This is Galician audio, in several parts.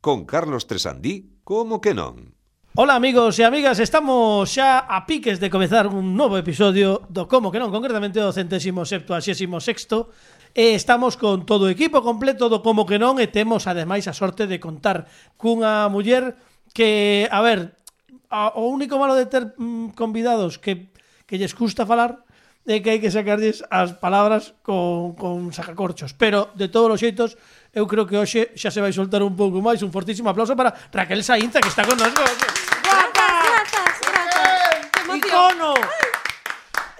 con Carlos Tresandí, como que non? Ola amigos e amigas, estamos xa a piques de comezar un novo episodio do Como que non, concretamente o centésimo septuaxésimo sexto e estamos con todo o equipo completo do Como que non e temos ademais a sorte de contar cunha muller que, a ver, a, o único malo de ter mm, convidados que, que lles custa falar é que hai que sacarlles as palabras con, con sacacorchos pero de todos os xeitos eu creo que hoxe xa se vai soltar un pouco máis un fortísimo aplauso para Raquel Sainza que está con nosotros Grazas, grazas. Que emoción. Icono!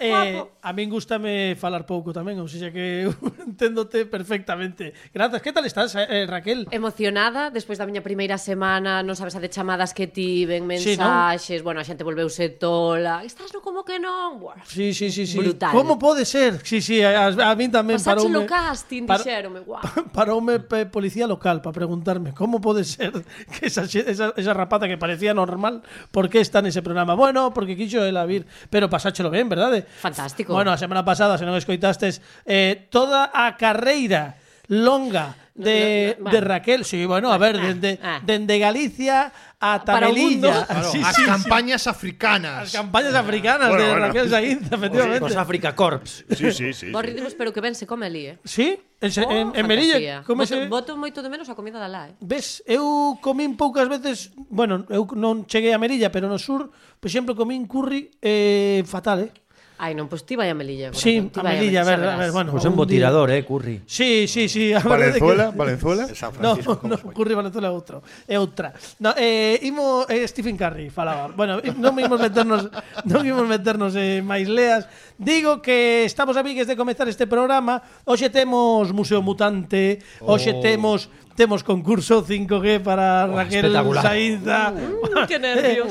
Eh, a min gustame falar pouco tamén, ou seja que eu enténdote perfectamente. Grazas, que tal estás, eh, Raquel? Emocionada, despois da miña primeira semana, non sabes a de chamadas que tiven, Sí, mensaxes, non? bueno, a xente volveuse tola. Estás no como que non? Buah. Sí, sí, sí, sí. Brutal. Como pode ser? Sí, sí, a, a min tamén Pasaxe paroume. no casting, par- dixérome, guau. Paroume pe, policía local para preguntarme como pode ser que esa, xe- esa, esa rapaza que parecía normal, por que está nese programa? Bueno, porque quixo ela vir, pero pasáchelo ben, verdade? Fantástico. Bueno, a semana pasada, se non escoitastes, eh, toda a carreira longa de, No, no, no, de bueno. Raquel. Sí, bueno, a ver, Ah, dende, ah. dende Galicia ata Para o Melilla. mundo. Claro, Sí, as sí, sí. campañas africanas. As campañas africanas Eh, Bueno, de bueno. Raquel Sainz, efectivamente. Os Africa Corps. Sí, sí, sí. Vos ridículos, pero que ben se come ali, eh. Sí, en, se- Oh, en, en fantasía. Melilla. Como voto, se... voto moito de menos a comida da lá, eh. Ves, eu comín poucas veces, bueno, eu non cheguei a Merilla, pero no sur, por exemplo, comín curry eh, fatal, eh? Ai, non, pois ti vai a Melilla. corazón, Sí, ti a vai Melilla, a ver, a xa ver, verás. bueno. Pois é algún un bo día. tirador, eh, Curry. Sí, sí, sí. a verdade Valenzuela, que- Valenzuela. No, no, Curry Valenzuela é outro. É outra. No, eh, imo, eh, Stephen Curry falaba. Bueno, eh, non imos meternos, non imos meternos eh, máis leas. Digo que estamos a piques de comezar este programa. Hoxe temos Museo Mutante, hoxe temos temos concurso 5G para Oh, Raquel espectacular. Uh. Sainza. Mm, que nervios.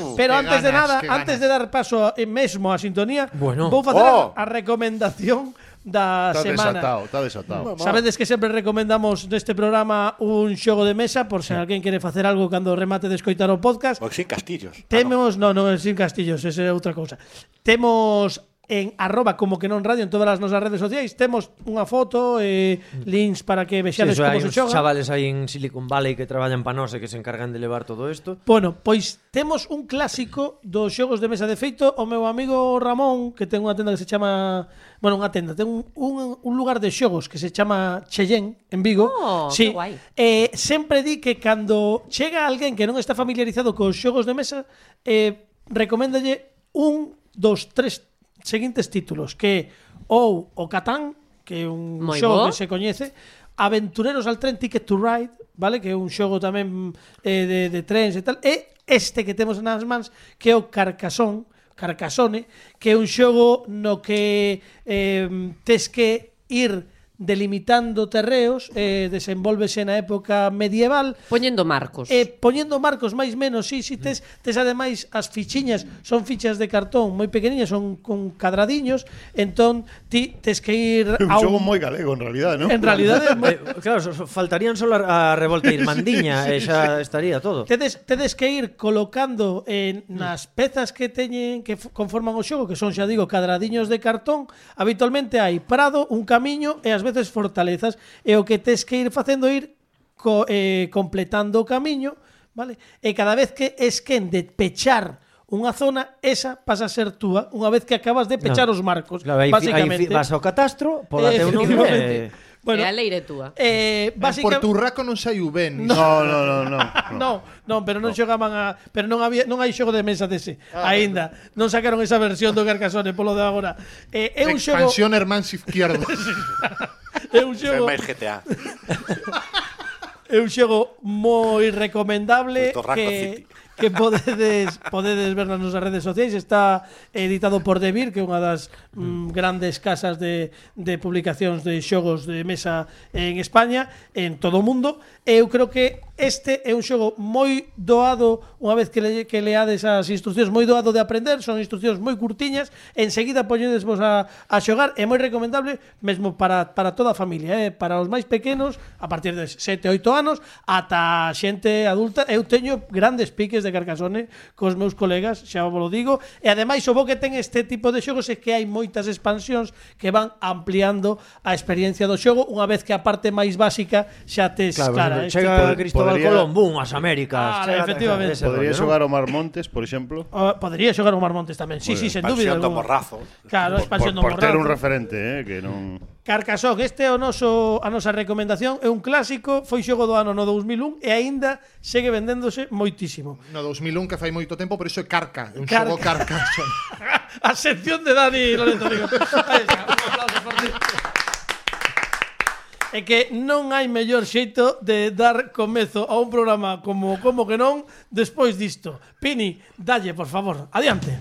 Eh, Pero Qué antes de ganas, nada, qué antes ganas. de dar paso eh, mesmo á sintonía, Bueno. vou facer Oh. a, a recomendación da Está semana. desatado, está desatado. Sabedes que sempre recomendamos neste programa un xogo de mesa por se alguén quere facer algo cando remate de escoitar o podcast. Pois sin castillos. Ah, Temos, no, no, é sin castillos, esa é outra cousa. Temos en arroba como que non radio en todas as nosas redes sociais temos unha foto e links para que Mm. Sí, vexades eso, hai como se uns xoga. chavales aí en Silicon Valley que traballan para nós e que se encargan de levar todo isto. Bueno, pois temos un clásico dos xogos de mesa de feito O meu amigo Ramón, que ten unha tenda que se chama Bueno, unha tenda, ten un, un, un lugar de xogos que se chama Cheyenne en Vigo Oh, que guai. Eh, sempre di que cando chega alguén que non está familiarizado cos xogos de mesa eh, Recoméndalle un dos tres seguintes títulos Que é ou o Catán, que é un Moi xogo que bo. se coñece Aventureros al tren, Ticket to Ride, vale? Que é un xogo tamén eh, de, de trens e tal. E este que temos nas mans, que é o Carcasón, Carcasone, que é un xogo no que eh, tes que ir delimitando terreos, eh, desenvolvese na época medieval, Poñendo marcos. E poñendo marcos máis menos, si, si tes, tes ademais as fichiñas, son fichas de cartón moi pequeniñas, son con cadradiños, entón ti tes que ir É un a un... xogo moi galego, en realidad, non? En realidad é moi- Eh, claro, so- so- faltarían só a a revolta irmandiña e xa estaría todo. Tedes, tedes que ir colocando eh, nas pezas que teñen que f- conforman o xogo, que son, xa digo, cadradiños de cartón, habitualmente hai prado, un camiño e ás veces fortalezas, e o que tes que ir facendo é ir co, eh, completando o camiño, vale? E cada vez que esquen de pechar unha zona, esa pasa a ser túa, unha vez que acabas de pechar os Claro. marcos, Claro, aí, fi- aí fi- basicamente. vas ao catastro, pola teu Efectivamente. nome. Eh, Bueno, Bueno, e a leire túa. eh, En básicamente... Porturraco non sai o ben. No, no, no, no. Non, non, pero non xogaban a, pero non había non hai xogo de mesa dese aínda. Non sacaron esa versión do Carcassonne polo de agora. Eh, é un xogo, Expansión Hermans Izquierdo. é un É xogo, máis GTA. é un xogo moi recomendable Puto Raco que City. que podedes podedes ver nas nosas redes sociais, está editado por Devir, que é unha das mm, grandes casas de, de publicacións de xogos de mesa en España, en todo o mundo. Eu creo que este é un xogo moi doado, unha vez que le, que leades as instruccións, moi doado de aprender, son instruccións moi curtiñas, enseguida poñedes vos a, a xogar, é moi recomendable mesmo para, para toda a familia, eh? para os máis pequenos, a partir de 7, 8 anos, ata xente adulta, eu teño grandes piques de Carcasone cos meus colegas, xa vos lo digo. E ademais o bo que ten este tipo de xogos é que hai moitas expansións que van ampliando a experiencia do xogo unha vez que a parte máis básica xa tes Claro, clara. claro este chega tipo de- Pod- Cristóbal podría- Colón, bum, as Américas. Ah, chega- efectivamente. ese Podría rollo, ¿no? xogar Omar Montes, por exemplo. Ah, Podría xogar o Marmontes tamén. Sí, sí, sen dúbida. Expansión do alguna. morrazo. Claro, Por, expansión do por- por ter morrazo. un referente, eh, que non... Carcasón, este é o noso a nosa recomendación, é un clásico, foi xogo do ano no 2001 e aínda segue vendéndose moitísimo. No 2001 que fai moito tempo, por iso é carca, é un Carca. xogo carca. a sección de Dani Lorenzo Rigo. Aí está, un aplauso forte. É que non hai mellor xeito de dar comezo a un programa como como que non despois disto. Pini, dalle, por favor, adiante.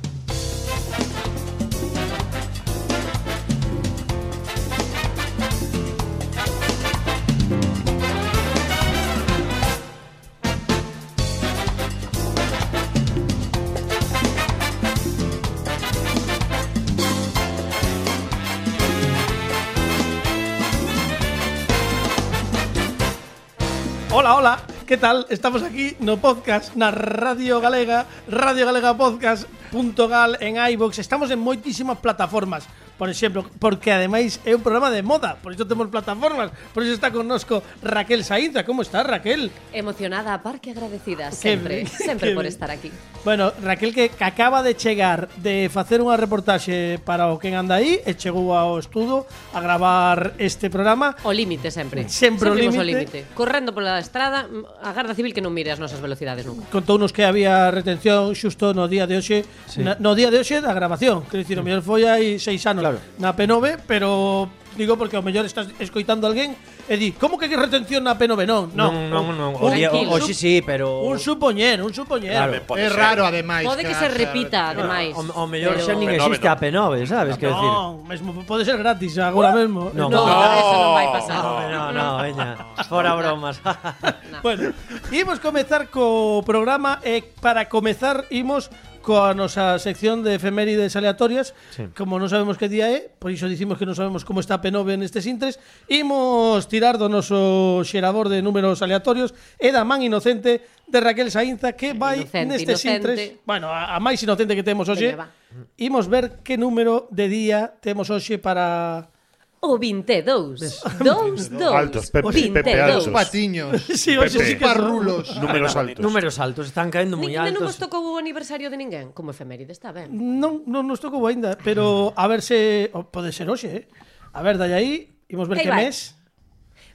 Hola, hola, ¿qué tal? Estamos aquí no podcast, na Radio Galega, Radio Galega Podcast. .gal en iVoox, estamos en moitísimas plataformas, por exemplo, porque ademais é un programa de moda, por iso temos plataformas, por iso está connosco Raquel Sainza, como está Raquel? Emocionada, parque agradecida, Qué sempre, ben, sempre qué por ben. estar aquí. Bueno, Raquel que, que acaba de chegar de facer unha reportaxe para o Quen Anda Aí e chegou ao estudo a gravar este programa. O límite sempre. Sempre o imos límite. Correndo pola estrada, mm, a Garda Civil que non mire as nosas velocidades nunca. Contounos que había retención xusto no día de hoxe na, No día de hoxe da grabación Quer dicir, o mellor foi hai seis anos Claro. Na P9, pero digo porque o mellor estás escoitando alguén E di, como que que retención na P9? Non, non, Non, non, non, o día- o- un sup- hoxe sí, pero- Un supoñer, un supoñer Claro. Tamén pode É ser. raro ademais. Pode que se repita, ademais. O, o mellor pero- xa nin Fenómeno. existe a P9, sabes? Que decir. Non, mesmo pode ser gratis agora mesmo No. No, No, eso non vai pasar. No, no, veña. Fora bromas. Bueno, imos comezar co programa e para comezar imos coa nosa sección de efemérides aleatorias sí. Sí. Como non sabemos que día é, por iso dicimos que non sabemos como está P9 nestes intres Imos tirar do noso xerador de números aleatorios E da man inocente de Raquel Sainza que vai Inocente, nestes inocente. intres Bueno, a, a máis inocente que temos hoxe Veña, va. Imos ver que número de día temos hoxe para... O 22. 2, 2. Altos, Pepe, Pepe, altos. Os patiños, Sí, hoxe Pepe. sí que son. parrulos. Números altos. Números altos, están caendo moi Ninguén non vos altos. tocou o aniversario de ninguén. Como efeméride, está ben. Non, non nos tocou aínda, pero a ver se o- pode ser hoxe, eh. A ver, dalle aí, imos ver Aí que vai. mes.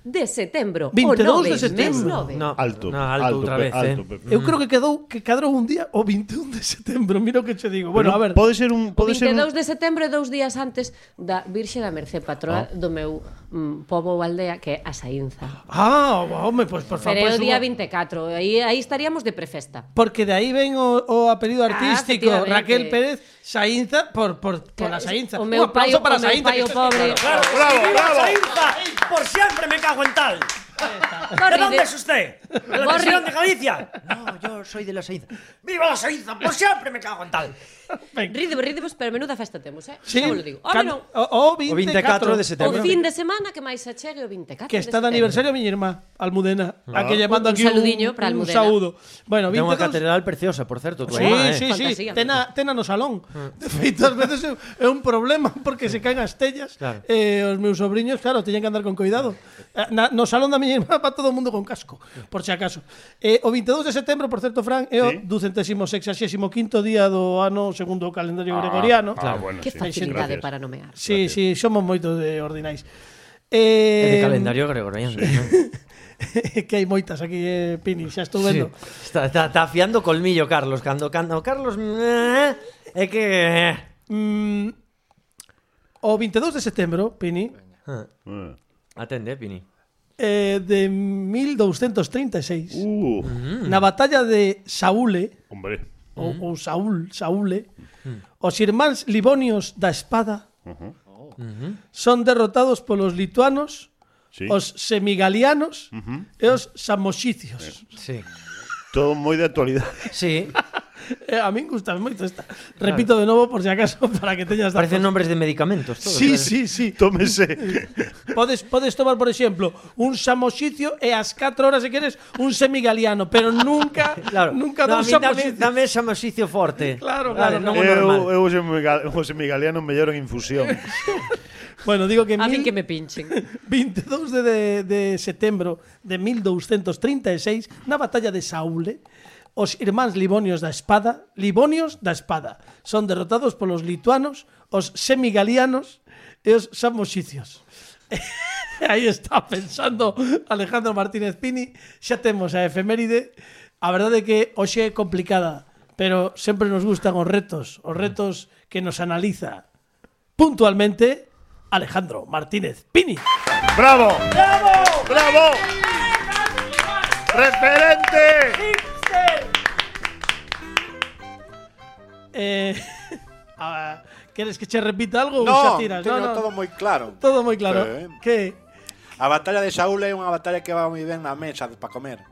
De setembro. 22 o 9, de setembro. Mes 9. No, Alto, no, alto, alto, outra Pe- vez, alto, eh. Pepe. Eu creo que quedou que cadrou un día o 21 de setembro, mira o que che digo. Bueno, a ver. Pero Pode ser un... O Pode ser un... 22 de setembro e dous días antes da Virxe da Mercé, patroa do meu mm, pobo ou aldea, que é a Saínza. Ah, home, pois por favor, Pero é o pois día unha- 24, aí, aí estaríamos de prefesta. porque de aí ven o, o apelido artístico Ah, efectivamente. Raquel Pérez Sainza por por por la Claro, Sainza. o meu un aplauso pai- o para meu Sainza. pai, que o está- pobre. Claro, claro. Por siempre me cago en tal. ¿De Corri, dónde de- es usted? ¿De la Borri. prisión de Galicia? No, yo soy de la Saída. ¡Viva la Saíza! Por siempre me cago en tal. Rídevos, rídevos, pero menuda festa temos, eh? Sí, Xa vos lo digo. Home, can- non. o, o O 24 O de setembro. fin de semana que máis se achegue o 24 Que está de aniversario miña irmá, Almudena, a que lle mando Un aquí un, saludiño para un Almudena. saúdo. Bueno, Ah. Ten unha 22 catedral preciosa, por certo, tu Sí, irmá, eh. Mm. sí, sí, Fantasía. tena, tena no salón. De feito, ás veces é é un problema porque se caen as tellas. Claro. Eh, os meus sobrinhos, claro, teñen que andar con cuidado. Eh, Na, no salón da miña irmá va todo o mundo con casco, por si acaso. Eh, o 22 de setembro, por certo, Fran, é o Sí. 265º día do ano segundo o calendario gregoriano. Ah, bueno, Que sí. facilidade Gracias. para nomear. Sí, sí, somos moitos de ordinais. Eh, É de calendario gregoriano. que hai moitas aquí, eh, Pini, xa estou Sí. vendo. Está, está, está afiando colmillo Carlos Cando, cando Carlos eh, É que eh, Mm, o 22 de setembro, Pini, Ah. Atende, Pini eh, de 1236. Uh, Hmm. Na batalla de Saúle, hombre. ou, ou Saúl, Saúle, Hmm. os irmáns libonios da espada son derrotados polos lituanos, Sí. os semigalianos e os samoxicios. Sí, Todo moi de actualidade. sí Eh, a min gustame moito esta. Repito de novo por si acaso para que teñas datos. Parecen nombres de medicamentos. todos, Sí, eh. sí, sí. Tómese. Podes, podes tomar, por exemplo, un samoxicio e ás 4 horas, se queres, un semigaliano, pero nunca, Claro. nunca no, a dun mí dame, samoxicio. dame xamoxicio forte. Claro, Vale, claro, non o normal. Eu, eu os migal- os migalianos melloron infusión. Bueno, digo que, en A mí mil- que me pinchen. 22 de, de, de setembro de 1236, na batalla de Saule, os irmáns Livonios da Espada, Livonios da Espada, son derrotados polos lituanos, os semigalianos e os samoxicios. Aí está pensando Alejandro Martínez Pini, xa temos a efeméride. A verdade é que hoxe é complicada, pero sempre nos gustan os retos, os retos que nos analiza puntualmente Alejandro Martínez Pini. ¡Bravo! ¡Bravo! ¡Bravo! ¡Referente! Eh, a- ¿Quieres que che repita algo? ou xa No, tiras? teño todo moi claro. Todo moi claro. Eh. Que A batalla de Saúl é unha batalla que va moi ben na mesa para comer.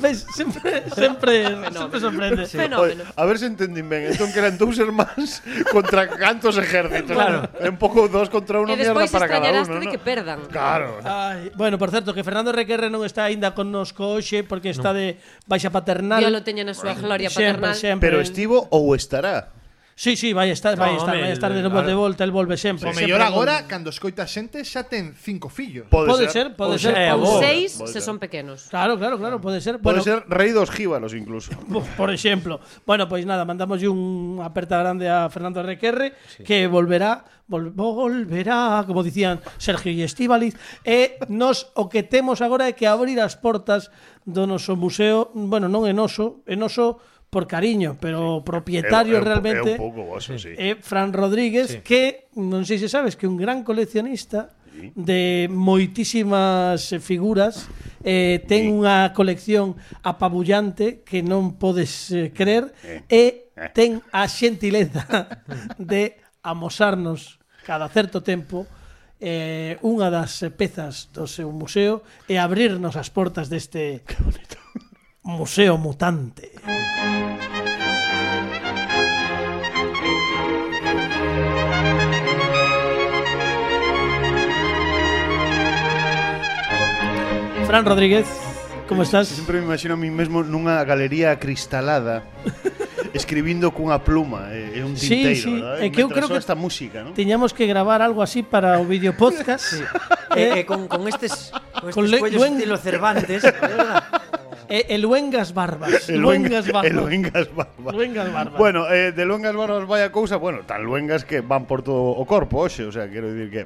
ves, sempre, sempre, sempre sorprende. Fenómeno. Oye, a ver se entendín ben. Entón que eran dous hermáns contra cantos ejércitos. Claro. É un pouco dos E contra unha mierda despois para cada extrañaraste uno. de ¿no? que perdan. Claro. Ai, bueno, por certo, que Fernando Requerre non está aínda connosco hoxe porque está de baixa paternal. Dios lo teña na súa gloria sempre, paternal. sempre. Eh. Pero estivo ou estará? Sí, sí, vai estar, vai No, estar, home, vai estar de novo claro. de volta, el volve sempre. O sempre mellor volve. agora, cando escoita xente, xa ten cinco fillos. Pode, Pode ser, pode Ou ser. sea, pode vos. ser. Ou seis Volta. se son pequenos. Claro, claro, claro, pode ser. Pode Bueno, ser rei dos jíbaros incluso. Bo- Por exemplo, bueno, pois nada, mandamoslle un aperta grande a Fernando Requerre sí. que volverá, vol volverá, como dicían Sergio e Estíbaliz, e nos o que temos agora é que abrir as portas do noso museo, bueno, non é noso, é noso por cariño, pero o propietario É un- é un- realmente É un pouco voso, sí. é Eh, Fran Rodríguez, sí. que non sei se sabes que é un gran coleccionista de moitísimas eh, figuras, eh, ten sí. unha colección apabullante que non podes eh, creer e ten a xentileza de amosarnos cada certo tempo eh, unha das eh, pezas do seu museo e abrirnos as portas deste museo mutante. Fran Rodríguez, como estás? Sempre me imagino a mí mesmo nunha galería acristalada escribindo cunha pluma, eh, é é un Sí, tinteiro, sí, ¿verdad? é que eu Mientras creo soa que- esta música, ¿no? Tiñamos que gravar algo así para o vídeo podcast. Eh, Eh, eh, con, con estes, con estes Con le- cuellos luen- estilo Cervantes, ¿verdad? eh, el Luengas Barbas. El Luengas Luenga- Barbas. el Luengas Barbas. Luengas Barbas. Bueno, eh, de luengas barbas vaya cousa, bueno, tan luengas que van por todo o corpo, hoxe, o sea, quero dicir que...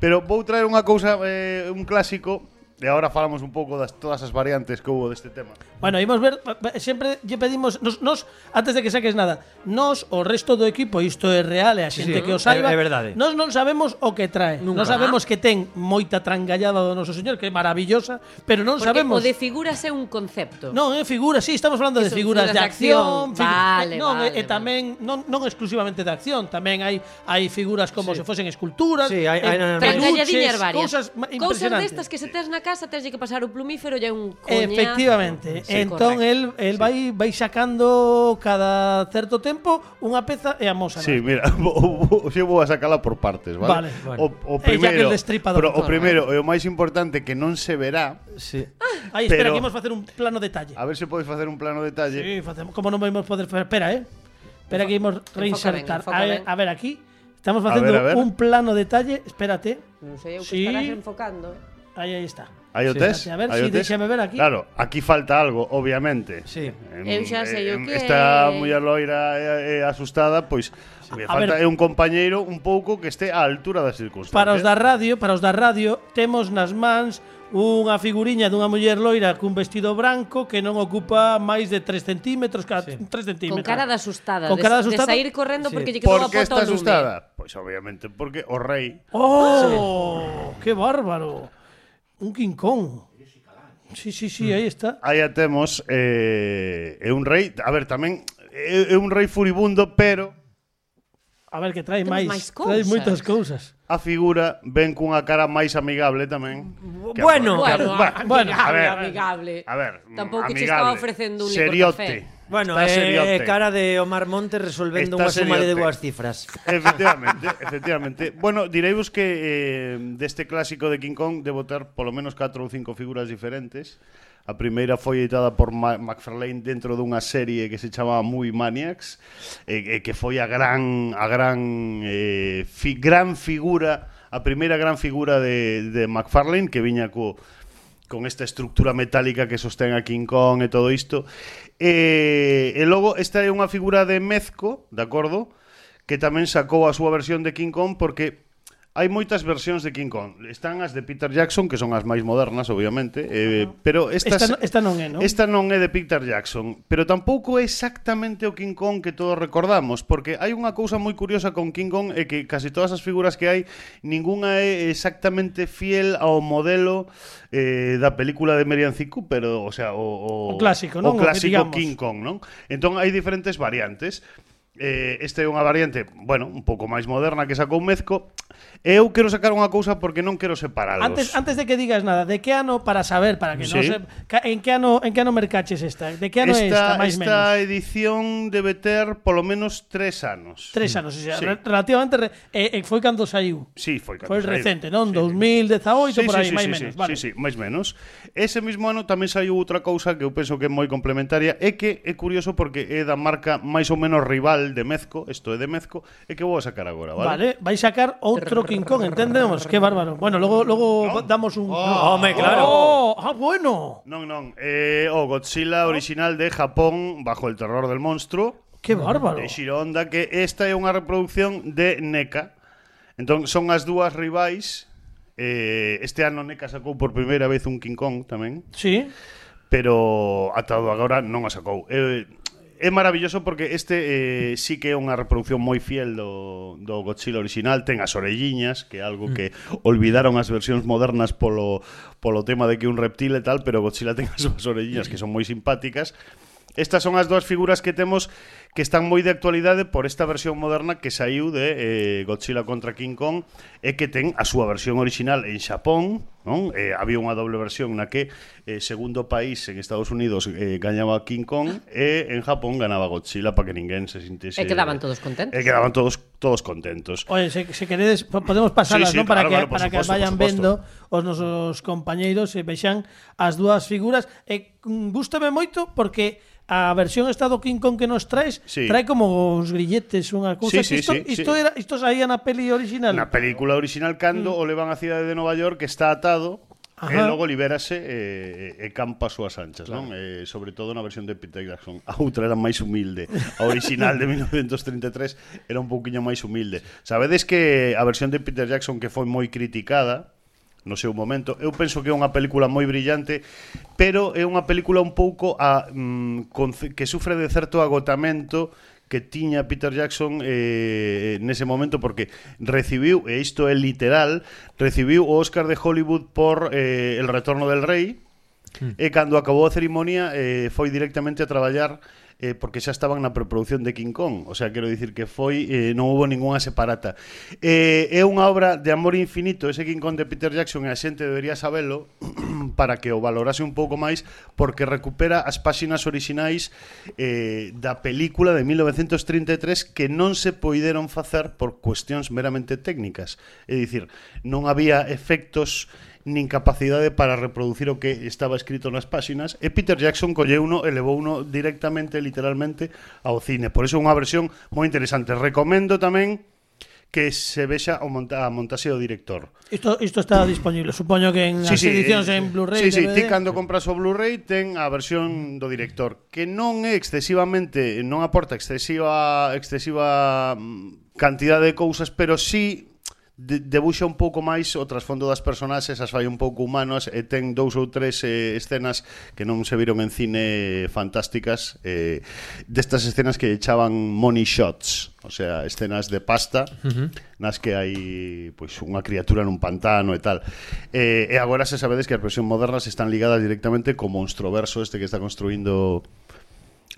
Pero vou traer unha cousa, eh, un clásico, e agora falamos un pouco das todas as variantes que houbo deste tema. Bueno, imos ver, pa- pa- sempre lle pedimos nos, nos antes de que saques nada, nos o resto do equipo, isto é real e a xente sí, que o é- saiba, é verdade. nos non sabemos o que trae. Nunca. Non sabemos que ten moita trangallada do noso señor, que é maravillosa, pero non Porque sabemos. o de figuras é un concepto. Non, é figura, sí, estamos falando Que de son figuras, figuras de de acción, acción. figu- Vale, eh, non, vale, e, e vale. tamén non, non exclusivamente de acción, tamén hai hai figuras como se fosen esculturas, Sí, hai- hai- eh, Trangalladiñas peluches, varias. cousas ma- cousas impresionantes. destas que se tes na casa tes que pasar o plumífero e é un coñazo. Efectivamente. Sí, entón correcto. el el vai vai sacando cada certo tempo unha peza e amosa. Sí, mira, vou- vou- xe vou a sacala por partes, Vale. vale? Vale. O, o Eh, ya que primeiro, el eh. destripador. pero o primeiro e o máis importante que non se verá, Sí. Aí espera pero- que imos facer un plano detalle. a ver se podes facer un plano detalle. Sí, facemos, como non vamos poder facer, espera, eh. Espera que imos reinsertar. enfoca a, ver, ben. a ver aquí. Estamos A facendo ver, a ver. un plano detalle, espérate. Non sei eu que Sí. estarás enfocando. eh. Aí aí está. Aí o Sí. tes? A ver, Aí sí, o tes? déxame ver aquí. Claro, aquí falta algo, obviamente. Em, Sí. Eu xa sei o que é. Esta muller loira é, é asustada, pois A me falta ver. é un compañeiro un pouco que este á altura das circunstancias. Para os da radio, para os da radio, temos nas mans unha figuriña dunha muller loira cun vestido branco que non ocupa máis de 3 centímetros, cada 3 Con centímetros. cara de asustada, Con de- cara de de, asustada. sair correndo Sí. porque lle quedou Por a que pota está ao lume. asustada? Pois obviamente porque o rei ¡Oh! ¡Qué bárbaro! Un King Kong. Sí, sí, sí, ahí está. aí a temos eh, é un rei, a ver, tamén é, é un rei furibundo, pero A ver, que trae Temos máis, máis trae cousas. moitas cousas. A figura ven cunha cara máis amigable tamén. que a- Bueno. que a- Bueno, bah, bueno, a ver, amigable. A ver, mm, Tampouco che amigable. estaba ofrecendo un licor seriote. café. Bueno, Está eh, seriote. cara de Omar Montes resolvendo Está unha suma de seriote. boas cifras. Efectivamente, efectivamente. Bueno, direivos que eh, deste clásico de King Kong de votar polo menos 4 ou 5 figuras diferentes. A primeira foi editada por Ma- McFarlane dentro dunha serie que se chamaba Movie Maniacs, eh, eh, que foi a gran a gran eh, fi, gran figura, a primeira gran figura de, de McFarlane que viña co con esta estructura metálica que sostén a King Kong e todo isto. E, e logo esta é unha figura de Mezco, de acordo, que tamén sacou a súa versión de King Kong porque hai moitas versións de King Kong. Están as de Peter Jackson, que son as máis modernas, obviamente, eh, pero estas, Esta no- esta non é, non? Esta non é de Peter Jackson, pero tampouco é exactamente o King Kong que todos recordamos, porque hai unha cousa moi curiosa con King Kong é que casi todas as figuras que hai, ninguna é exactamente fiel ao modelo eh, da película de Merian Zicu, pero, o sea, o, O o, clásico, non? O o que digamos. clásico King Kong, non? Entón hai diferentes variantes. Eh, esta é unha variante, bueno, un pouco máis moderna que sacou Mezco. Eu quero sacar unha cousa porque non quero separalos. Antes, antes de que digas nada, de que ano para saber, para que non Sí. se, ca- en que ano en que ano mercaches esta? De que ano é esta, esta, máis esta menos? edición debe ter polo menos tres anos. Tres anos, o sea, Sí. re- relativamente re, eh, eh, foi cando saiu. Sí, foi cando Foi saiu. recente, non? 2018 Sí, por aí, sí, sí, máis sí, menos, sí, vale. sí, sí, máis menos. Ese mismo ano tamén saiu outra cousa que eu penso que é moi complementaria e que é curioso porque é da marca máis ou menos rival de Mezco, isto é de Mezco, e que vou a sacar agora, vale? Vale, vais sacar outro King Kong, entendemos, qué bárbaro. Bueno, luego luego damos un Home, claro. Oh, ah, bueno. Non, non, eh, o Godzilla original de Japón bajo el terror del monstruo Qué bárbaro. de Shiro Honda que esta é unha reproducción de NECA. Entón son as dúas rivais Eh, este ano NECA sacou por primeira vez un King Kong tamén Sí. pero atado agora non a sacou. É, é maravilloso porque este eh, sí que é unha reproducción moi fiel do, do Godzilla original, ten as orelliñas, que é algo que olvidaron as versións modernas polo, polo tema de que un reptil e tal, pero Godzilla ten as súas orelliñas que son moi simpáticas. Estas son as dúas figuras que temos que están moi de actualidade por esta versión moderna que saiu de eh, Godzilla contra King Kong e que ten a súa versión original en Xapón, non? Eh, había unha doble versión na que eh, segundo país en Estados Unidos eh, gañaba King Kong e en Japón ganaba Godzilla para que ninguén se sintese E quedaban todos contentos. E quedaban todos todos contentos. Oye, se, se queredes, po- podemos pasalas, Sí, sí, non? Para claro, que, claro, por para suposto, que vayan por suposto. vendo os nosos compañeiros e vexan as dúas figuras. E mm, gústame moito porque a versión esta do King Kong que nos traes Sí. trae como os grilletes, unha cousa. que Sí, sí, isto, sí, sí. isto, era, isto saía na peli original. Mm. Na película original cando o levan a cidade de Nova York está atado Ajá. e logo libérase e, e campa as súas anchas, non? Eh, sobre todo na versión de Peter Jackson. A outra era máis humilde. A original de 1933 era un pouquiño máis humilde. Sabedes que a versión de Peter Jackson que foi moi criticada no seu momento, eu penso que é unha película moi brillante, pero é unha película un pouco a mm, conce- que sufre de certo agotamento que tiña Peter Jackson eh, nese momento porque recibiu, e isto é literal, recibiu o Oscar de Hollywood por eh, El retorno del rei e cando acabou a cerimonia eh, foi directamente a traballar eh, porque xa estaban na preproducción de King Kong o sea, quero dicir que foi eh, non houve ningunha separata eh, é unha obra de amor infinito ese King Kong de Peter Jackson e a xente debería sabelo para que o valorase un pouco máis porque recupera as páxinas orixinais eh, da película de 1933 que non se poideron facer por cuestións meramente técnicas. É dicir, non había efectos nin capacidade para reproducir o que estaba escrito nas páxinas e Peter Jackson colleu uno e levou uno directamente, literalmente, ao cine. Por iso é unha versión moi interesante. Recomendo tamén que se vexa o monta a montaxe do director. Isto, isto está disponible, supoño que en as edicións eh, en Blu-ray. Sí, sí, DVD. ti cando compras o Blu-ray ten a versión do director, que non é excesivamente, non aporta excesiva excesiva mm, cantidad de cousas, pero sí de, debuxa un pouco máis o trasfondo das personaxes, as fai un pouco humanos e ten dous ou tres eh, escenas que non se viron en cine fantásticas eh, destas escenas que echaban money shots o sea, escenas de pasta nas que hai pois unha criatura nun pantano e tal eh, e agora se sabedes que as versións modernas están ligadas directamente co monstroverso este que está construindo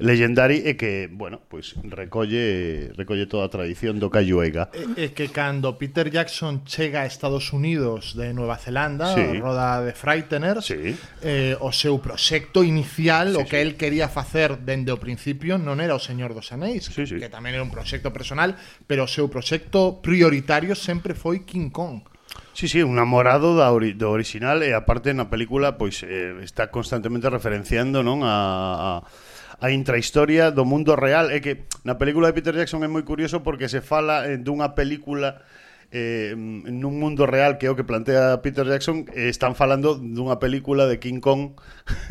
Legendary e que, bueno, pois recolle recolle toda a tradición do Cayuega. É que cando Peter Jackson chega a Estados Unidos de Nueva Zelanda, Sí. sí. roda de Frighteners, Sí. eh, o seu proxecto inicial, sí, o que sí. el quería facer dende o principio, non era o Señor dos Anéis, Sí, sí. que tamén era un proxecto personal, pero o seu proxecto prioritario sempre foi King Kong. Sí, sí, un namorado da ori do original e aparte na película pois eh, está constantemente referenciando, non, a, a a intrahistoria do mundo real é que na película de Peter Jackson é moi curioso porque se fala eh, dunha película eh, mm, nun mundo real que é o que plantea Peter Jackson eh, están falando dunha película de King Kong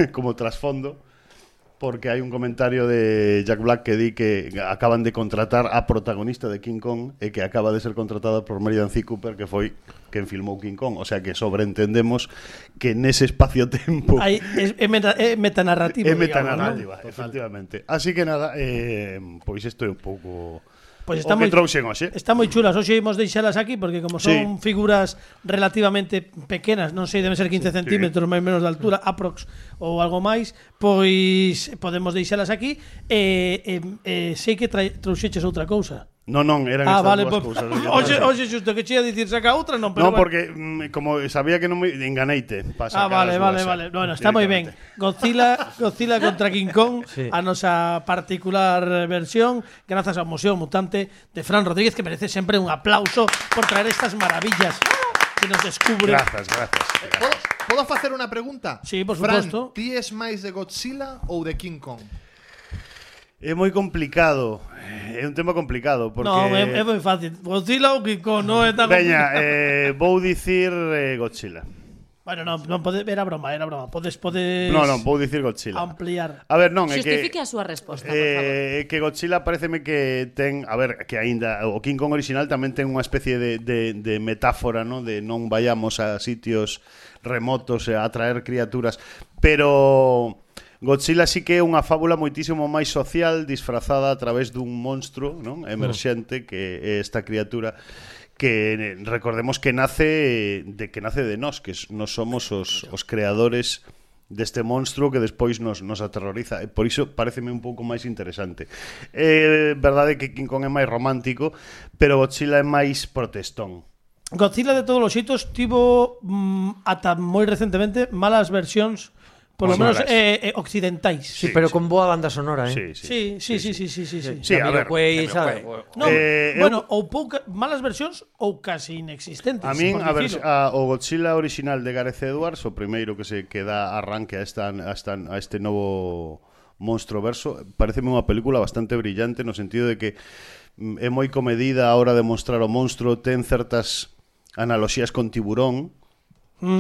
como trasfondo porque hai un comentario de Jack Black que di que acaban de contratar a protagonista de King Kong e que acaba de ser contratada por Marian C. Cooper que foi quen filmou King Kong, o sea que sobreentendemos que nese espacio-tempo Aí é, é, meta, é metanarrativo. digamos, non? é metanarrativa, efectivamente. Así que nada, eh, pois isto é un pouco Pois o está que moi trouxen hoxe. Está moi chulas, hoxe imos deixalas aquí porque como son Sí. figuras relativamente pequenas, non sei, deben ser 15 centímetros máis menos de altura, aprox ou algo máis, pois podemos deixalas aquí e eh, eh, sei que trai- trouxeches outra cousa. Non, non, eran Ah, estas vale, dúas pois. cousas. Hoxe, hoxe xusto que che ia dicir saca outra, non, pero Non, bueno. porque mm, como sabía que non me enganeite. pa Ah, sacar vale, as vale, dúas, vale. eh, Bueno, está moi ben. directamente. Godzilla, Godzilla contra King Kong, Sí. a nosa particular eh, versión, grazas ao Museo Mutante de Fran Rodríguez, que merece sempre un aplauso por traer estas maravillas que nos descubre. Grazas, grazas. Podo, podo facer unha pregunta? Sí, por Fran, suposto. ti es máis de Godzilla ou de King Kong? Eh, É moi complicado. É un tema complicado porque No, é, é moi fácil. Godzilla ou King Kong, non é tan Veña, complicado. eh, vou dicir eh, Godzilla. Bueno, non, non pode, era broma, era broma. Podes, podes No, non, vou dicir Godzilla. ampliar. A ver, non, é que Justifique a súa resposta, por favor. Eh, é que Godzilla pareceme que ten, a ver, que aínda o King Kong original tamén ten unha especie de, de, de metáfora, ¿no? De non vayamos a sitios remotos e a atraer criaturas, pero Godzilla sí que é unha fábula moitísimo máis social disfrazada a través dun monstro, non? Emerxente que é esta criatura que eh, recordemos que nace eh, de que nace de nós, que s- nós somos os, os creadores deste monstruo que despois nos, nos aterroriza e por iso pareceme un pouco máis interesante é verdade que King Kong é máis romántico pero Godzilla é máis protestón Godzilla de todos os xitos tivo mm, ata moi recentemente malas versións, por lo Moi menos malas. eh, eh, occidentais. Sí, pero con boa banda sonora, eh. sí, sí. Sí, sí, sí, sí, sí, sí, sí. Sí, a ver, Jamiroquai, Pues, sabe? No, Eh, bueno, ou pouca, malas versións ou casi inexistentes. A min por a vers, dicilo. a, o Godzilla original de Gareth Edwards, o primeiro que se que dá arranque a esta a, esta, a este novo monstro verso, pareceme unha película bastante brillante no sentido de que mm, é moi comedida a hora de mostrar o monstro, ten certas analogías con tiburón,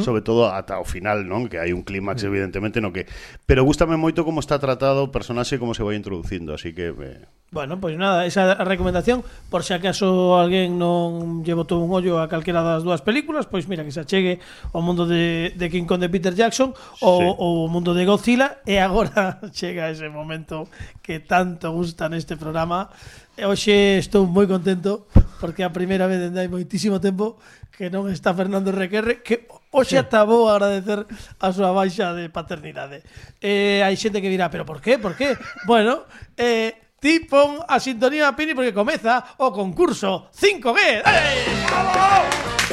sobre todo ata o final, non? Que hai un clímax evidentemente no que, pero gústame moito como está tratado o personaxe e como se vai introducindo, así que eh, Bueno, pois nada, esa é a recomendación Por se acaso alguén non lle botou un ollo a calquera das dúas películas Pois mira, que se achegue ao mundo de, de King Kong de Peter Jackson ou, Sí. ou o mundo de Godzilla E agora chega ese momento que tanto gusta neste programa E hoxe estou moi contento Porque a primeira vez dende hai moitísimo tempo Que non está Fernando Requerre Que hoxe ata vou agradecer a súa baixa de paternidade eh, Hai xente que dirá, pero por qué, por qué? Bueno, eh, Ti pon a sintonía Pini porque comeza o concurso 5G. ¡Dale!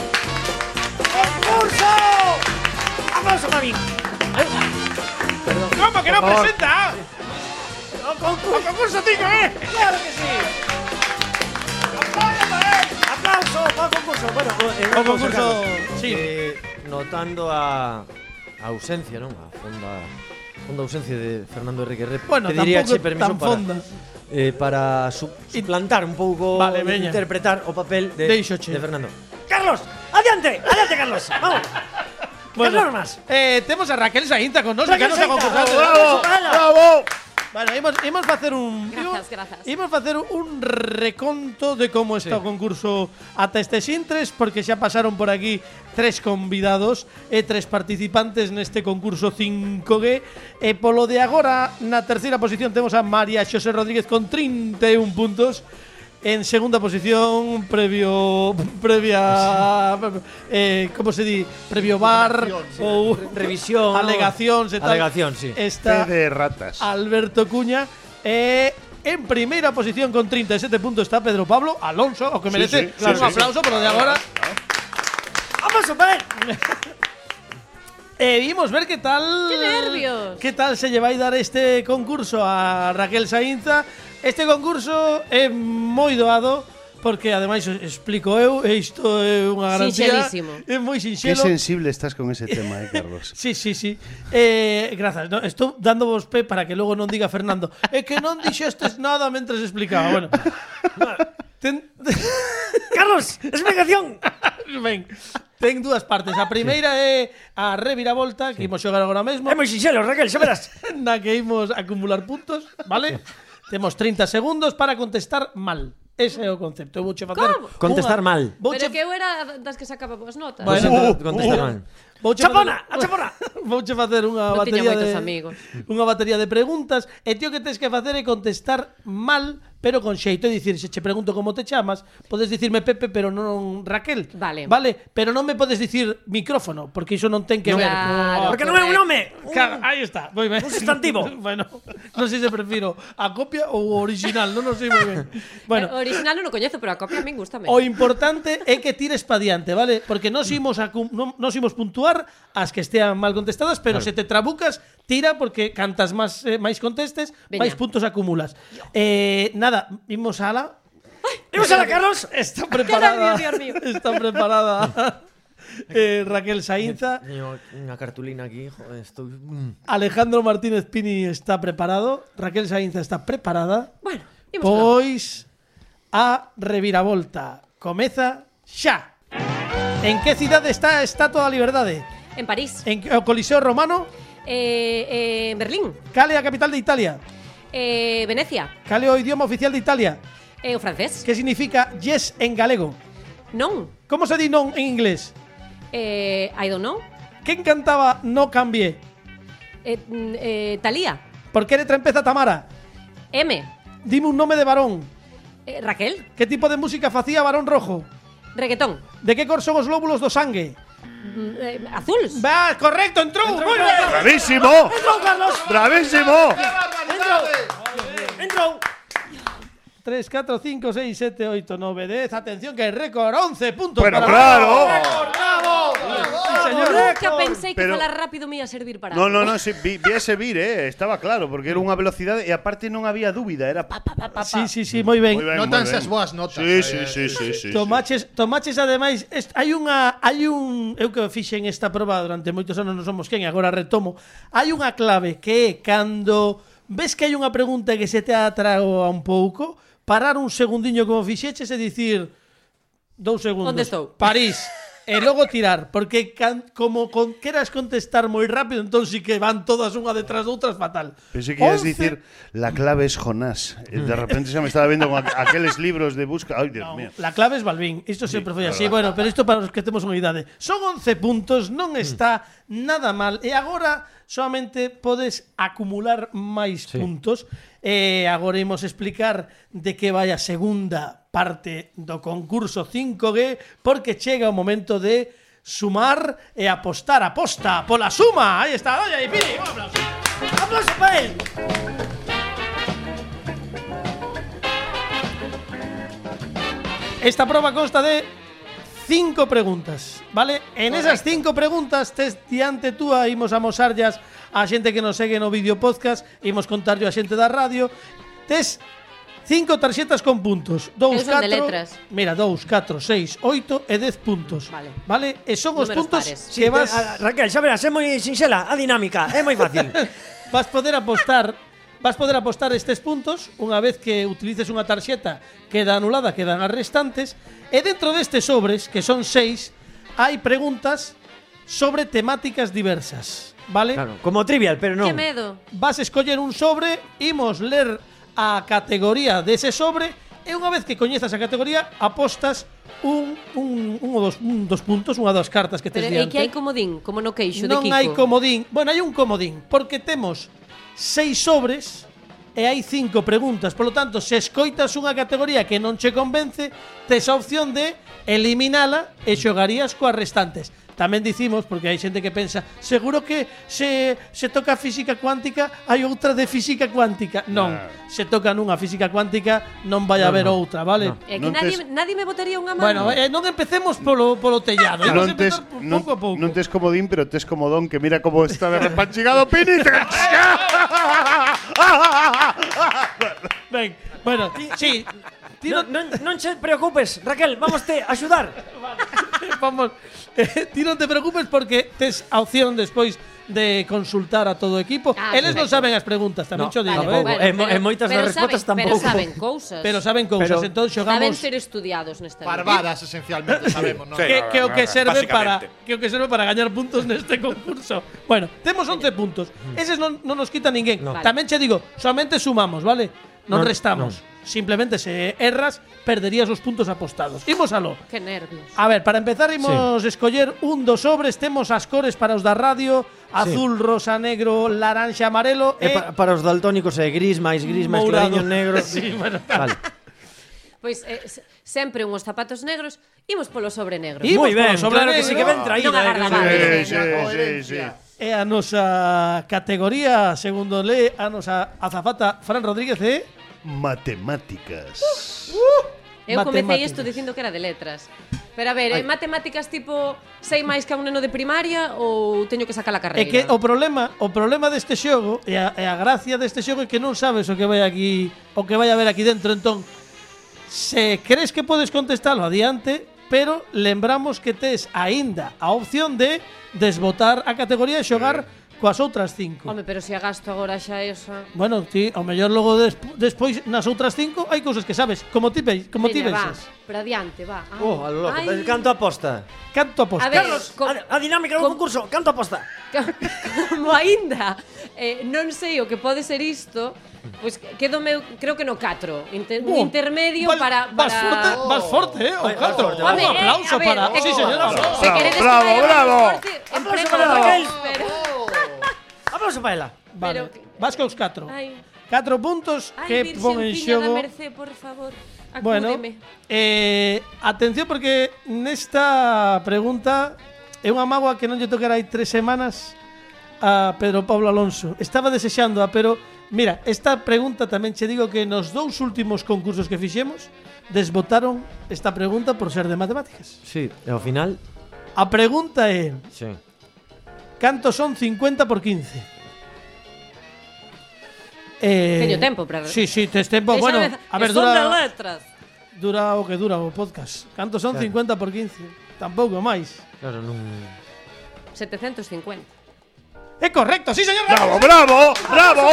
¡Concurso! ¡Aplauso para mí! ¡Cómo que no presenta! ¡O concurso! concurso tico, eh! ¡Claro que sí! ¡Aplauso para el concurso! Bueno, eh, O concurso. Sí. Eh, notando a, a ausencia, non? A fonda, fonda ausencia de Fernando Enrique Rep. Bueno, Te diría, tampouco che, permiso tan para, fonda. eh, para su, suplantar un pouco, Vale, veña. interpretar o papel de, Deixoche. de Fernando. ¡Carlos! ¡Adiante! ¡Adiante, Carlos! ¡Vamos! ¡Qué normas! eh, temos a Raquel Sainta con nós, que Raquel nos a Sainta, concursar. bravo, bravo. Bueno, imos, imos facer un Grazas, imos- grazas. Imos facer un reconto de como está Sí. o concurso ata este xintres porque xa pasaron por aquí tres convidados e tres participantes neste concurso 5G e polo de agora na terceira posición temos a María Xosé Rodríguez con 31 puntos En segunda posición, previo previa eh, como se di, previo bar ou Revisión. alegacións e tal. Alegación, sí. Está té de ratas. Alberto Cuña Eh, en primeira posición con 37 puntos está Pedro Pablo Alonso, o que Sí, merece sí, claro, un sí, sí. aplauso por lo de agora. ¡Vamos a ver! E vimos ver qué tal. ¡Qué nervios! ¿Qué tal se lleva a dar este concurso a Raquel Sainza? Este concurso é moi doado porque ademais os explico eu, e isto é unha garantía. Sinxelísimo. É moi Qué sinxelo. sensible estás con ese tema, eh, Carlos. Sí, sí, sí. Eh, grazas. No, estou dando vos pé para que logo non diga Fernando. É que non dixestes nada mentres explicaba. Bueno. Ten, ¡Carlos! ¡Es mi canción! ben, ten dúas partes. A primeira é a reviravolta que imos xogar agora mesmo. ¡Es muy sincero, Raquel! ¡Ya verás! na que imos acumular puntos, vale? Temos 30 segundos para contestar mal. Ese é o concepto. Eu vouche facer Como? Contestar mal. Vouche, Pero que eu era das que sacaba boas notas. Pois Bueno, entón, contesta uh, mal. vouche ¡Chapona! facer- ¡A chapona! Vouche facer unha Non tiña batería de moitos amigos. Unha batería de preguntas e ti o que tens que facer é contestar mal, pero con xeito, é dicir, se che pregunto como te chamas, podes dicirme Pepe, pero non Raquel. Vale. Vale, pero non me podes dicir micrófono, porque iso non ten que ver. Claro, Porque non é un correcto. nome! Eh, Claro, ahí está. Muy bien. Un sustantivo. bueno, no sé si prefiero a copia o original, no lo sé muy bien. Bueno, Eh, original non o coñezo, pero a copia a min gustame. o importante é que tires pa diante, ¿vale? Porque nos Mm. imos a cum- non- nos imos puntuar as que estean mal contestadas, pero se te trabucas, tira porque cantas máis eh, máis contestes, Veña. máis puntos acumulas. Eh, nada, imos ala. ¡Vamos a la Carlos! Está preparada. nervios, Dios mío. Está preparada. eh, Raquel Sainza. Teño unha cartulina aquí, joder, estou... mm. Alejandro Martínez Pini está preparado, Raquel Sainza está preparada. Bueno, imos alá. Pois a reviravolta comeza xa. En que cidade está a Estatua da Liberdade? En París. En que- o Coliseo Romano? Eh, eh, Berlín. Cale a capital de Italia? Eh, Venecia. Cale o idioma oficial de Italia? Eh, o francés. Que significa yes en galego? Non. Como se di non en inglés? Eh, I don't know. Quen cantaba No cambié? Eh, mm, eh, Talía. Por que letra empeza Tamara? M. Dime un nome de varón. Eh, Raquel. Que tipo de música facía Varón Rojo? Reggaetón. De que cor son os lóbulos do sangue? Mm, eh, azul. Va, correcto, entrou. Moi ben. ¡Bravísimo! ¡Entrou, Carlos! ¡Bravísimo! ¡Entrou! 3, 4, 5, 6, 7, 8, 9, 10. Atención, que récord 11 puntos. Bueno, para- claro. Sí, señor. Nunca pensei que Pero- falar rápido me ia servir para No, no, no, sí, vi, vi ese vir, eh, estaba claro, porque era unha velocidade e aparte non había dúbida, era pa, pa, pa, pa. Sí, sí, sí, moi ben. Moi ben, Notan moi ben. esas boas notas. Sí, eh, sí, sí, sí, sí. Tomaches, tomaches ademais, est, hai unha hai un, eu que fixen esta proba durante moitos anos non somos quen, agora retomo. Hai unha clave que é cando ves que hai unha pregunta que se te atragoa un pouco, parar un segundiño como fixeches e dicir dous segundos. Onde estou? París. E logo tirar, porque can, como con, queras contestar moi rápido, entón sí que van todas unha detrás de outras fatal. Pensé que ibas 11. a decir, la clave es Jonás. Eh, De repente se me estaba viendo con aqu- aquellos libros de busca. Ay, Dios mío. La clave es Balvin. Isto sempre foi así. Bueno, pero isto para os que temos unha idade. Son 11 puntos, non está nada mal. E agora solamente podes acumular máis puntos. E agora imos explicar de que vai a segunda parte do concurso 5G porque chega o momento de sumar e apostar. Aposta pola suma. Aí está, doña e Pini. Un aplauso. ¡Aplauso para él! Esta prueba consta de cinco preguntas, ¿vale? En esas cinco preguntas tes diante túa imos amosarllas a xente que nos segue no vídeo podcast, imos contarlle a xente da radio. Tes cinco tarxetas con puntos. Dous, Eu son catro... de letras. Mira, dous, catro, seis, oito e dez puntos. Vale. Vale? E son os Números puntos pares. que vas... Ah, Raquel, xa verás, é moi sinxela, a dinámica, é moi fácil. Vas poder apostar Vas poder apostar estes puntos unha vez que utilices unha tarxeta queda anulada, quedan as restantes e dentro destes sobres, que son seis hai preguntas sobre temáticas diversas vale? Claro, como trivial, pero non. Que medo. vas escoller un sobre, imos ler a categoría dese sobre e unha vez que coñezas a categoría apostas un, un, un, ou dos, un dos puntos, unha das cartas que tes Pero é diante que hai comodín, como no queixo de non Kiko. hai comodín. Bueno, hai un comodín, porque temos seis sobres e hai cinco preguntas. Por lo tanto, se escoitas unha categoría que non che convence, tes a opción de eliminala e xogarías coas restantes. tamén dicimos, porque hai xente que pensa, seguro que se, se toca física cuántica, hai outra de física cuántica. Non, se toca nunha física cuántica, non vai haber outra, vale? No. É que Non nadie, tes- nadie me botaría unha mano. Bueno, eh, non empecemos polo, polo tellado. Imos Non tes, empezar por non, pouco a pouco. non tes comodín, pero tes comodón que mira como está de repanchigado Pini. Ben, bueno, ti, sí, ti Non, non, non, non te preocupes, Raquel, vamos te a axudar. vamos, eh, ti non te preocupes porque tes a opción despois de consultar a todo o equipo. Ah, Eles non perfecto. saben as preguntas, tamén No, xo digo, tampouco. eh. Eh, mo- eh, moitas das respostas saben, tampouco. Pero saben cousas. Pero saben cousas, Pero- entón Saben xogamos ser estudiados nesta vida. Barbadas, eh. esencialmente, sabemos, ¿no? Sí. que, que o que serve para Básicamente. que o que serve para gañar puntos neste concurso. Bueno, temos 11 puntos. Eses non, non nos quita ninguén. Vale. Tamén che digo, somente sumamos, vale? Non Non, restamos. Simplemente se erras, perderías os puntos apostados. Imos aló. Que nervios. A ver, para empezar imos sí. escoller un dos sobres, temos as cores para os da radio, azul, rosa, negro, laranxa, amarelo e, E Eh, pa- para os daltónicos é gris, máis gris, máis Mourado. clariño, negro. Sí, bueno. Vale. Pois eh, se- sempre unhos zapatos negros, imos polo sobre negro. Imos Moi ben, polo sobre claro que negro. sí que ben traído. Non agarda mal. Sí, Vale, sí, sí, sí. e Eh, a nosa categoría, segundo le, a nosa azafata Fran Rodríguez eh. é Matemáticas. Eu comecei Matemáticas. isto dicindo que era de letras. Pero a ver, en matemáticas tipo sei máis que a un neno de primaria ou teño que sacar a É carreira? que o problema, o problema deste xogo e a, e a gracia deste xogo é que non sabes o que vai aquí, o que vai haber aquí dentro, entón se crees que podes contestalo adiante, pero lembramos que tes aínda a opción de desbotar a categoría e xogar coas outras cinco. Home, pero se agasto agora xa esa... Bueno, ti, ao mellor logo desp despois nas outras cinco hai cousas que sabes, como ti, pe- como ti Veña, va, pensas. para adiante, va. Ai, Oh, a lo loco. ai. Canto aposta. Canto apostas. A ver, A, co- a dinámica do Com- concurso, canto aposta. como aínda eh, non sei o que pode ser isto, pois quedo meu, creo que no 4, inter, Oh, un intermedio vas- para Vas forte, para vas forte, eh, o canto. forte, Un Home, eh, aplauso a ver, para. eh, Sí, señora. Se queredes que Bravo, vaya máis bravo. forte, Aplauso emprego para a Raquel. voz, pero- Aplauso para ela. Vale. Pero- Vas cos 4. Ai. 4 puntos Ai, que Virxenciña pon en xogo. da Mercé, por favor, acúdeme. Bueno, eh, atención porque nesta pregunta é unha mágoa que non lle tocará hai tres semanas a Pedro Pablo Alonso. Estaba desexando, pero mira, esta pregunta tamén che digo que nos dous últimos concursos que fixemos desbotaron esta pregunta por ser de matemáticas. Sí, e ao final... A pregunta é, Sí. canto son 50 por 15? Eh, Teño tempo para- Sí, sí, tes tempo. Esa Bueno, vez- a ver, son dura... de letras. Dura o que dura o podcast. Cantos son Claro. 50 por 15? Tampouco máis. Claro, non... 750. É correcto, sí, señor. Bravo, bravo, bravo.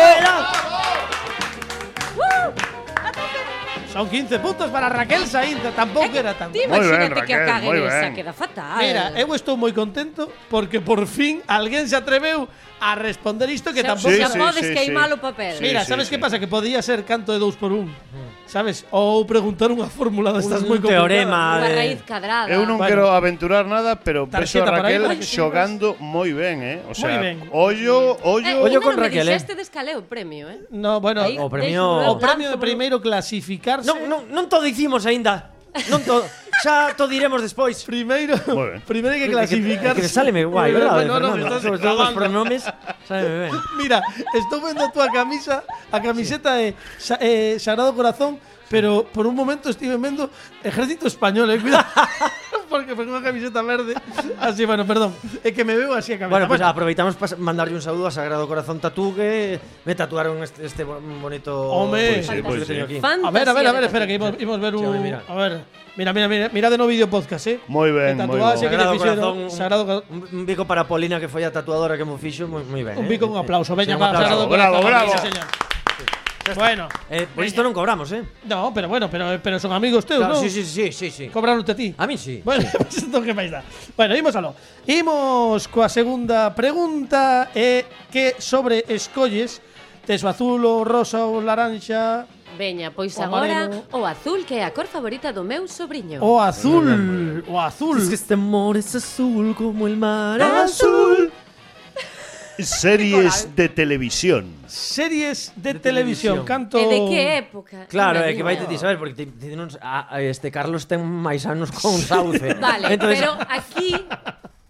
Son 15 puntos para Raquel Sainz. Tampouco era tan. Ti Moi ben, imagínate que a Raquel, caguen moi esa, ben. queda fatal. Mira, eu estou moi contento porque por fin alguén se atreveu a responder isto que Se- tampouco se era- Sí, sí, podes sí, queimar sí. o papel. Sí. Mira, sabes que pasa? Que podía ser canto de 2 por 1 Sabes? Ou preguntar unha fórmula destas Un moi complicada. teorema. Unha de- raíz Eh, cadrada. Eu non Bueno. quero aventurar nada, pero vexo Tarxeta a para Raquel aí, para que xogando moi ben, eh? O sea, ben. ollo, ollo. Ollo nunca con me Raquel, eh. dixeste descalé o este premio, eh? No, bueno, Aí o o, premio- deixo o premio de lanzo, primeiro clasificarse. Non, non, non todo dicimos aínda. Non todo. Xa to diremos despois. Primeiro, Moi ben. primeiro hai que Que, clasificarse. que sáleme guai, Bueno, verdade, no, no, Fernando? me estás Sobre todo os clavando. pronomes, sáleme ben. Mira, estou vendo a túa camisa, a camiseta é sa, eh, Sagrado Corazón, pero por un momento estive vendo Ejército Español, eh, cuidado. Porque foi unha camiseta verde. Así, bueno, perdón. É que me veo así a cabeza. Bueno, pues aproveitamos para mandarlle un saúdo a Sagrado Corazón Tatú que me tatuaron este, este bo- bonito Home. bolsillo Pois sí, pois que sí. teño aquí. a Fantasía ver, a ver, a ver, de espera, que papel. imos, imos ver Sí, un... home, mira. A ver, mira, mira, mira, mira de no vídeo podcast, eh. Moi ben, Que moi tatuaxe que ben. lle Sagrado fixeron. Corazón, un, Sagrado Corazón. un, un bico para Polina que foi a tatuadora que mo fixo, moi, moi ben. Un eh. pico con aplauso. Veña, Sí, va, Sagrado Bravo, Corazón, bravo, sí, bravo. señor. Bueno, Eh, por isto non cobramos, eh? no, pero bueno, pero, pero son amigos teus, Claro, non? sí, sí, sí, sí, sí. Cobraron a ti. A mí sí. Bueno, pues entón que máis dá. Bueno, imos aló. Imos coa segunda pregunta é que sobre escolles tes o azul, o rosa ou laranxa? Veña, pois O agora amarelo. pues o azul que é a cor favorita do meu sobriño. O azul, o azul. Es que este amor es azul como el mar azul. Series de televisión. Series de, De televisión, televisión. canto. E de que época? Claro, é Imagina. que vai te saber porque te, te, non, a, a este Carlos ten máis anos con Sauce. Vale, Entonces, pero aquí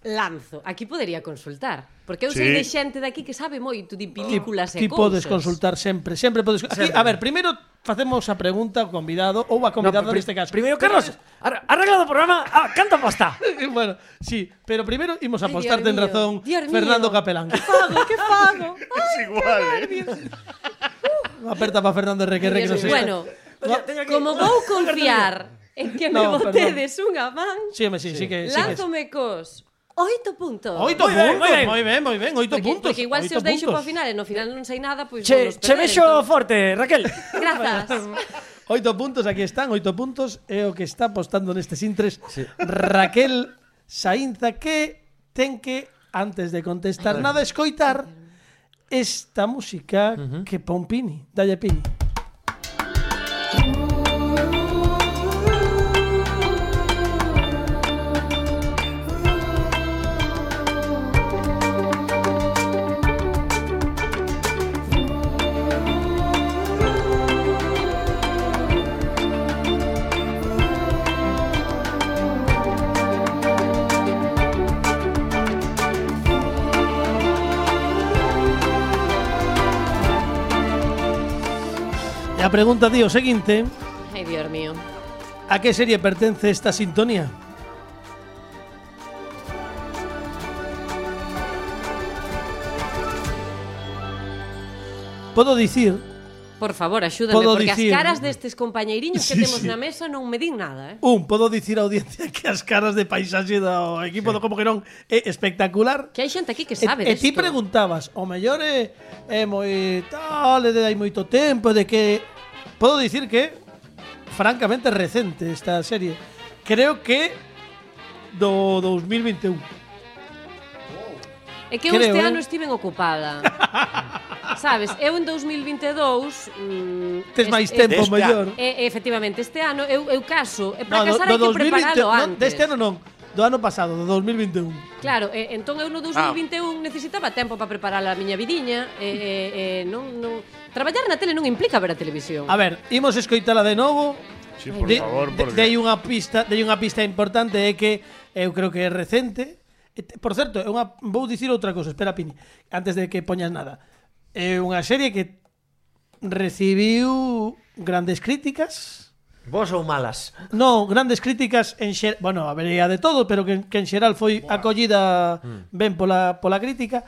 lanzo. Aquí podería consultar, porque eu Sí. sí. sei de xente daqui que sabe moito de películas Ti e podes cousas. consultar sempre, sempre podes. Aquí, a ver, primeiro facemos a pregunta ao convidado ou a convidada pri- neste caso. Primero, Carlos, ar- arregla do programa, ah, canta pasta. bueno, sí, pero primeiro imos a Ay, Dios apostarte en mío, razón Dios mío. Fernando Capelán. Que fago, que fago. Es igual, ¿eh? Aperta para Fernando Requerre que nos está. bueno, Oye, tengo aquí- como vou confiar en que me No, perdón. botedes unha man, Sí, home, sí, sí, que sí. que- lánzome cos oito puntos. Oito Moi ben, puntos, moi ben. moi ben, moi ben, oito porque, puntos. Porque igual oito se os deixo puntos. para o final e no final non sei nada, pois Che, vou nos che perder, vexo entón. forte, Raquel. Grazas. Oito puntos, aquí están, oito puntos é o que está apostando nestes intres Raquel Sainza que ten que antes de contestar nada escoitar esta música que pon Pini, dalle Pini. E a pregunta di o seguinte, Ai, Dios mío. a que serie pertence esta sintonía? Podo dicir Por favor, axúdame, Podo porque dicir- as caras destes compañeiriños que Sí, temos sí. na mesa non me din nada, eh? Un, podo dicir á audiencia que as caras de paisaxe do equipo do Como que non é espectacular. Que hai xente aquí E, que sabe e ti desto. preguntabas, o mellor é, é moi tal, é de hai moito tempo, de que... Podo dicir que, francamente, recente esta serie. Creo que do 2021. É que eu este Creo, eh. ano estiven ocupada. Sabes, eu en 2022... Mm, Tes máis tempo, deste mellor. E, e, efectivamente, este ano eu, eu caso, No, e para casar hai que preparalo non, antes. deste ano non, este do ano pasado, do 2021. Claro, e, entón eu no Ah. 2021 necesitaba tempo para preparar a miña vidiña, e, e, e non, non... Traballar na tele non implica ver a televisión. A ver, imos escoitala de novo. Sí, por de, favor, de- porque- dei unha pista, dei unha pista importante é que eu creo que é recente. E te- Por certo, é unha vou dicir outra cousa, espera Pini, antes de que poñas nada. É unha serie que recibiu grandes críticas. Vos ou malas? No, grandes críticas en xer... Bueno, habería de todo, pero que, que en xeral foi acollida Mm. ben pola, pola crítica.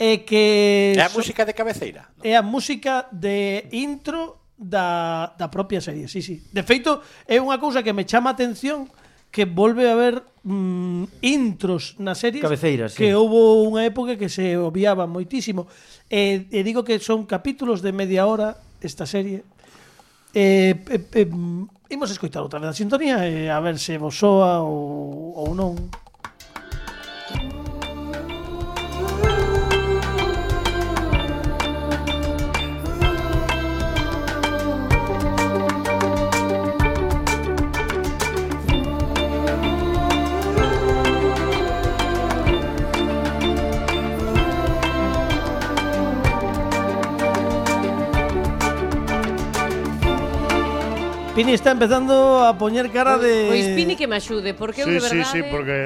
E que... É a so- música de cabeceira. é a música de intro da, da propia serie, sí, sí. De feito, é unha cousa que me chama a atención que volve a haber mm, intros na serie Cabeceiras, sí. que houbo unha época que se obviaba moitísimo. E, e digo que son capítulos de media hora esta serie. E, e, e, mm, imos escoitar outra vez a sintonía e a ver se vos soa ou, ou non. Pini está empezando a poñer cara de... Pois Pini que me axude, porque eu Sí, de sí, verdade... sí, porque.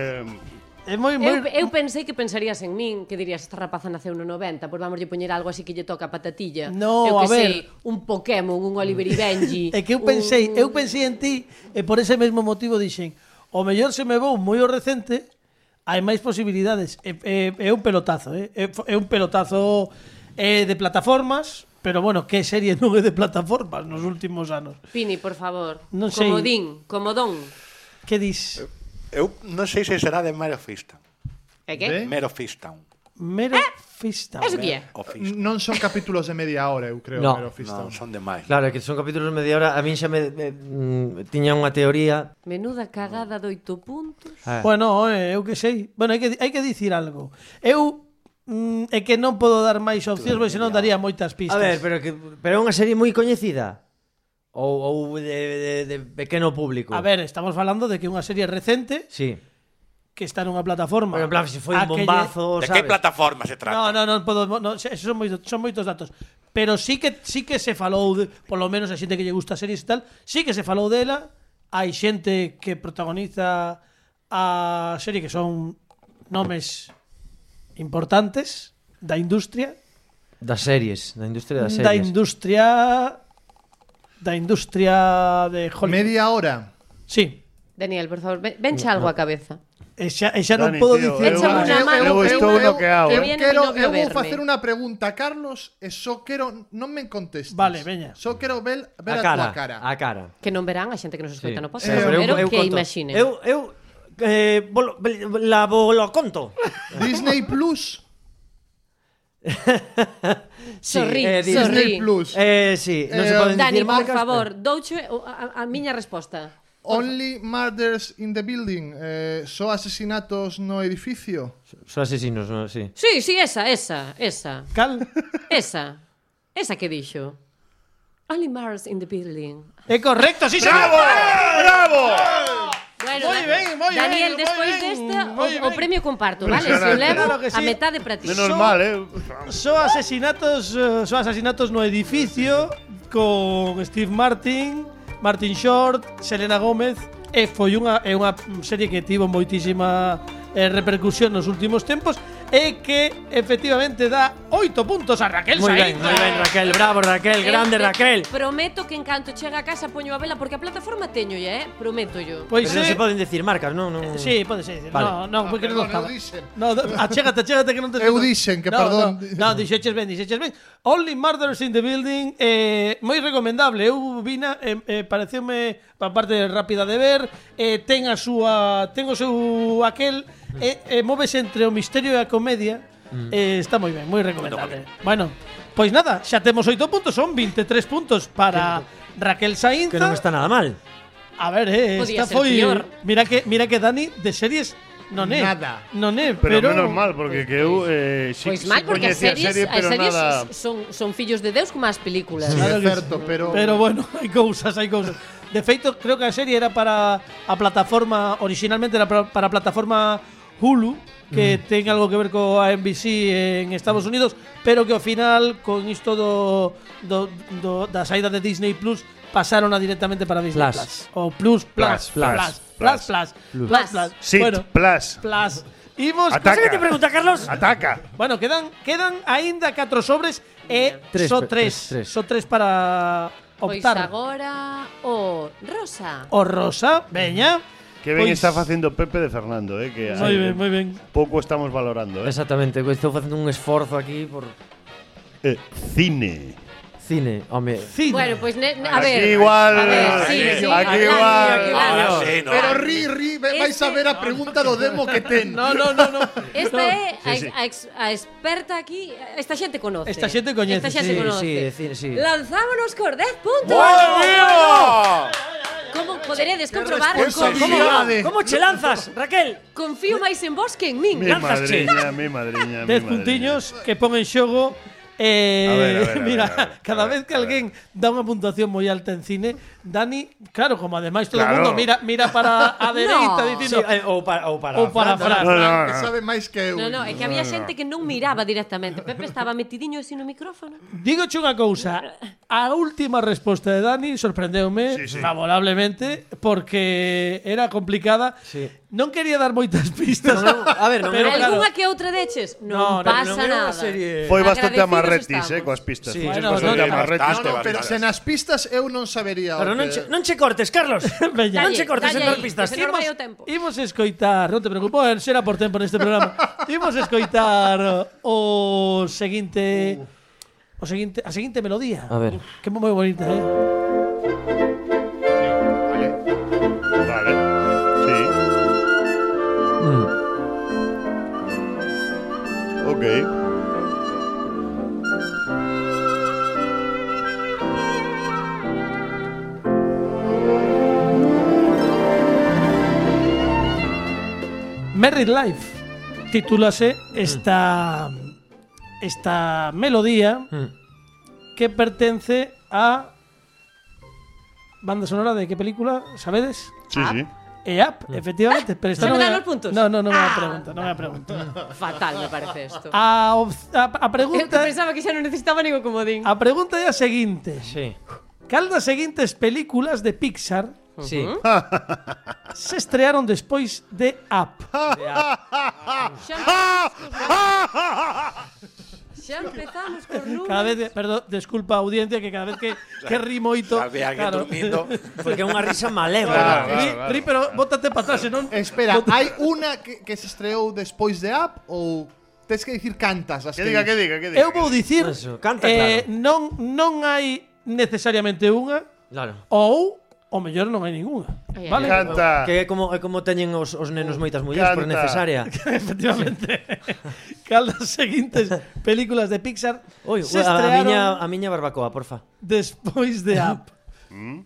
É moi, moi... Eu, eu pensei que pensarías en min, que dirías esta rapaza naceu no 90, pois vamos lle poñer algo así que lle toca a patatilla. No, eu que a ver. Mm. sei, un Pokémon, un Oliver e Benji. É que eu pensei, un- eu pensei en ti e por ese mesmo motivo dixen, o mellor se me vou moi ao recente, hai máis posibilidades. É, é, é un pelotazo, eh? é, fo- é un pelotazo eh, de plataformas, pero bueno, que serie non é de plataformas nos últimos anos. Pini, por favor. Non sei. Como din, como don. Que dis? Eu non sei se será de Mero Fistown. É que? De? Mero Fistown. Mero fista. ¿Eh, Eso que é? O Fistown. Non son capítulos de media hora, eu creo, No. pero Non, Fistown. son de máis. Claro, é que son capítulos de media hora. A min xa me, me mm, tiña unha teoría. Menuda cagada de oito puntos. Ah, Bueno, eh, eu que sei. Bueno, hai que, hai que dicir algo. Eu mm, é que non podo dar máis opcións, pois senón daría moitas pistas. a ver, pero que pero é unha serie moi coñecida ou, ou de, de, de pequeno público. A ver, estamos falando de que é unha serie recente Sí. que está nunha plataforma. Pero en plan, se foi A un que lle- bombazo, De sabes? que plataforma se trata? No, no, non podo, no, se- esos son moitos, son moitos datos. Pero sí que sí que se falou, de, por lo menos a xente que lle gusta series e tal, sí que se falou dela. Hai xente que protagoniza a serie que son nomes importantes da industria, Das series, da industria das da series. industria da industria de Hollywood. Media hora. Sí. Daniel, por favor, ven- venche algo a cabeza. E xa, e xa non Dani, podo tío, dicir eu- Échame una eu- mano. eu- Eu estou eu- eu- noqueado, Eu, eh. Viene quero, mi eu novio vou a facer verme. unha pregunta a Carlos e só quero non me contestes. Vale, veña. Só quero ver, ver a, a cara, túa cara. a cara. Que non verán a xente que nos escoita no podcast. Eh, Pero, eu- eu que conto. imaginen. Eu, eu eh, volo, bel- la volo conto. Disney Plus. Sí, Sorrí, eh, Disney sorrí. Disney Plus. Eh, sí, non se Eh, poden Dani, dicir por marcas. favor, douche o- a, a, a miña resposta. Only Murders in the Building. Eh, só asesinatos no edificio. Son asesinos, non? Sí. Sí, sí, esa, esa, esa. cal. Esa. Esa que dixo. Only Mars in the building. É correcto, sí, señor. Bueno, Moi Da- ben, moi Daniel, ben, despois moi ben, desta, o, moi o ben. premio comparto, vale? Se o Impresionante. levo, Claro que sí. a metade para ti. Menos Son- mal, eh. Só asesinatos, eh, só asesinatos no edificio con Steve Martin, Martin Short, Selena Gómez e foi unha é unha serie que tivo moitísima eh, repercusión nos últimos tempos e que efectivamente dá 8 puntos a Raquel Moi Saín. ben, moi ben, Raquel, bravo Raquel, grande Eu te- Raquel. eh, Prometo que en canto chega a casa poño a vela porque a plataforma teño, eh? Prometo yo. Pois Pero non é- se poden decir marcas, non, non. Sí, pode ser. No, Vale. no, porque non Ah, perdón, estaba. eu dixen. No, no, achégate, achégate que non te Eu dixen que no, perdón. No, no dixeches ben, dixeches ben. Only Murders in the Building eh, moi recomendable. Eu vina, eh, eh, pareceume pa parte rápida de ver, eh, ten a súa, ten o seu aquel eh, eh, moves entre o misterio e a comedia. Eh, está moi ben, moi recomendable. Bueno, pois nada, xa temos 8 puntos, son 23 puntos para Raquel Sainz. Que non está nada mal. A ver, eh, Podía esta ser foi peor. Mira que mira que Dani de series non é. Nada. Non é, Pero, pero, menos mal, porque que eu eh, sí, Pois Pues sí mal, porque as coñecía series, a serie, as pero series nada... son, son fillos de Deus como as películas. Sí, Claro é que certo, pero... Pero bueno, hai cousas, hai cousas. De feito, creo que a serie era para a plataforma originalmente era para, para a plataforma Hulu, que ten algo que ver coa NBC en Estados Unidos, pero que ao final con isto do, do, do da saída de Disney Plus pasaron a directamente para Disney Plus. Plus. O Plus Plus Plus, Plus Plus Plus, Plus Plus. Plus. Plus. Sí, Bueno, plus. Plus. Imos Ataca. ¿Sabes qué te pregunta, Carlos? Ataca. Bueno, quedan quedan aínda 4 sobres e Tres, só pe- 3, tres, tres. só 3 para Pois optar. agora Pues o Rosa. O rosa, veña. Que ben Pois- está facendo Pepe de Fernando, eh, que Moi eh, ben, moi ben. pouco estamos valorando, eh. Exactamente, eu estou facendo un esforzo aquí por eh cine. cine, home. Cine. Bueno, pues- pois ne, ne- a ver. aquí igual, eh, a ver, sí, aquí, sí, aquí Dani, igual. aquí Ahora Dani. sí, ¿no? Pero ri, ri, ve- vais a Este- ver a pregunta do demo que ten. no, no, no, no. Esta No. é a, Sí, sí. a ex- a experta aquí, esta xente conoce. Esta xente coñece, Esta xente sí, conoce. sí, de cine, sí. Lanzámonos cor 10 puntos. ¡Viva! Como poderedes comprobar, responsa- ¿Cómo, Felicidades. ¿Cómo che lanzas, Raquel? confío máis en vos que en min. Mi Lanzas, madriña, mi madriña, mi 10 madriña. puntiños que pon en xogo Eh, A ver, a ver, a ver, mira, a ver, a cada ver, vez que a ver. alguén dá unha puntuación moi alta en cine, Dani, claro, como ademais todo o Claro. mundo mira mira para a dereita No. dicindo Sí, eh, ou para ou para ou para Fran. Fran, No, no, Que no. sabe máis que eu. No, no, é que había xente que non miraba directamente. Pepe estaba metidiño así no micrófono. Dígoche unha cousa, a última resposta de Dani sorprendeume Sí, sí. favorablemente porque era complicada. Sí. Non quería dar moitas pistas. Non, non, a ver, non pero era- claro, Algúnha que outra deches? Non No, no, pasa non era nada. unha serie. Foi bastante Agradecidos amarretis, eh, estamos. coas pistas. Sí. Fuches Bueno, bastante no, no, amarretis. No, pero se nas pistas eu non sabería. o Pero non que- che, non che cortes, Carlos. Veña. non che cortes en dos Dalle, dalle aí, pistas. que se Que nos vai imos- o tempo. Imos escoitar, non te preocupes, eh, será por tempo neste programa. Imos escoitar o seguinte o seguinte a seguinte melodía. Uh. A ver. Que é moi bonita, eh. Vale. Vale. Sí. Mm. Ok. Married Life titúlase esta esta melodía que pertence a banda sonora de que película, sabedes? Sí, sí. E Up, efectivamente, pero esta Se me non é a- dan os puntos. No, no, non é a Ah. pregunta, non é a pregunta. Fatal me parece isto. A, op- a, a Eu que pregunta pensaba que xa non necesitaba ningún comodín. Ah. a pregunta é a seguinte. Sí. Cal das seguintes películas de Pixar Sí. se estrearon despois de Up? Xa, Ah. xa empezamos con números. Cada vez, perdón, desculpa audiencia que cada vez que, que rimoito. Había alguien durmiendo. Porque é unha risa malévola. Claro. Ri, ri, pero bótate para atrás, senón. Espera, hai unha que, que se estreou despois de Up ou tens que dicir cantas as Que diga, que diga, que diga. Eu vou dicir, Eso, canta eh, claro. non non hai necesariamente unha Claro. ou o mellor non hai ningunha. Ai, ai, Vale? ai. Canta. Que é como, é como teñen os, os nenos moitas mulleres por Canta. necesaria. Efectivamente. Cal das seguintes películas de Pixar Oi, se a, a, estrearon miña, a Mm. miña barbacoa, porfa. despois de Up. Mm.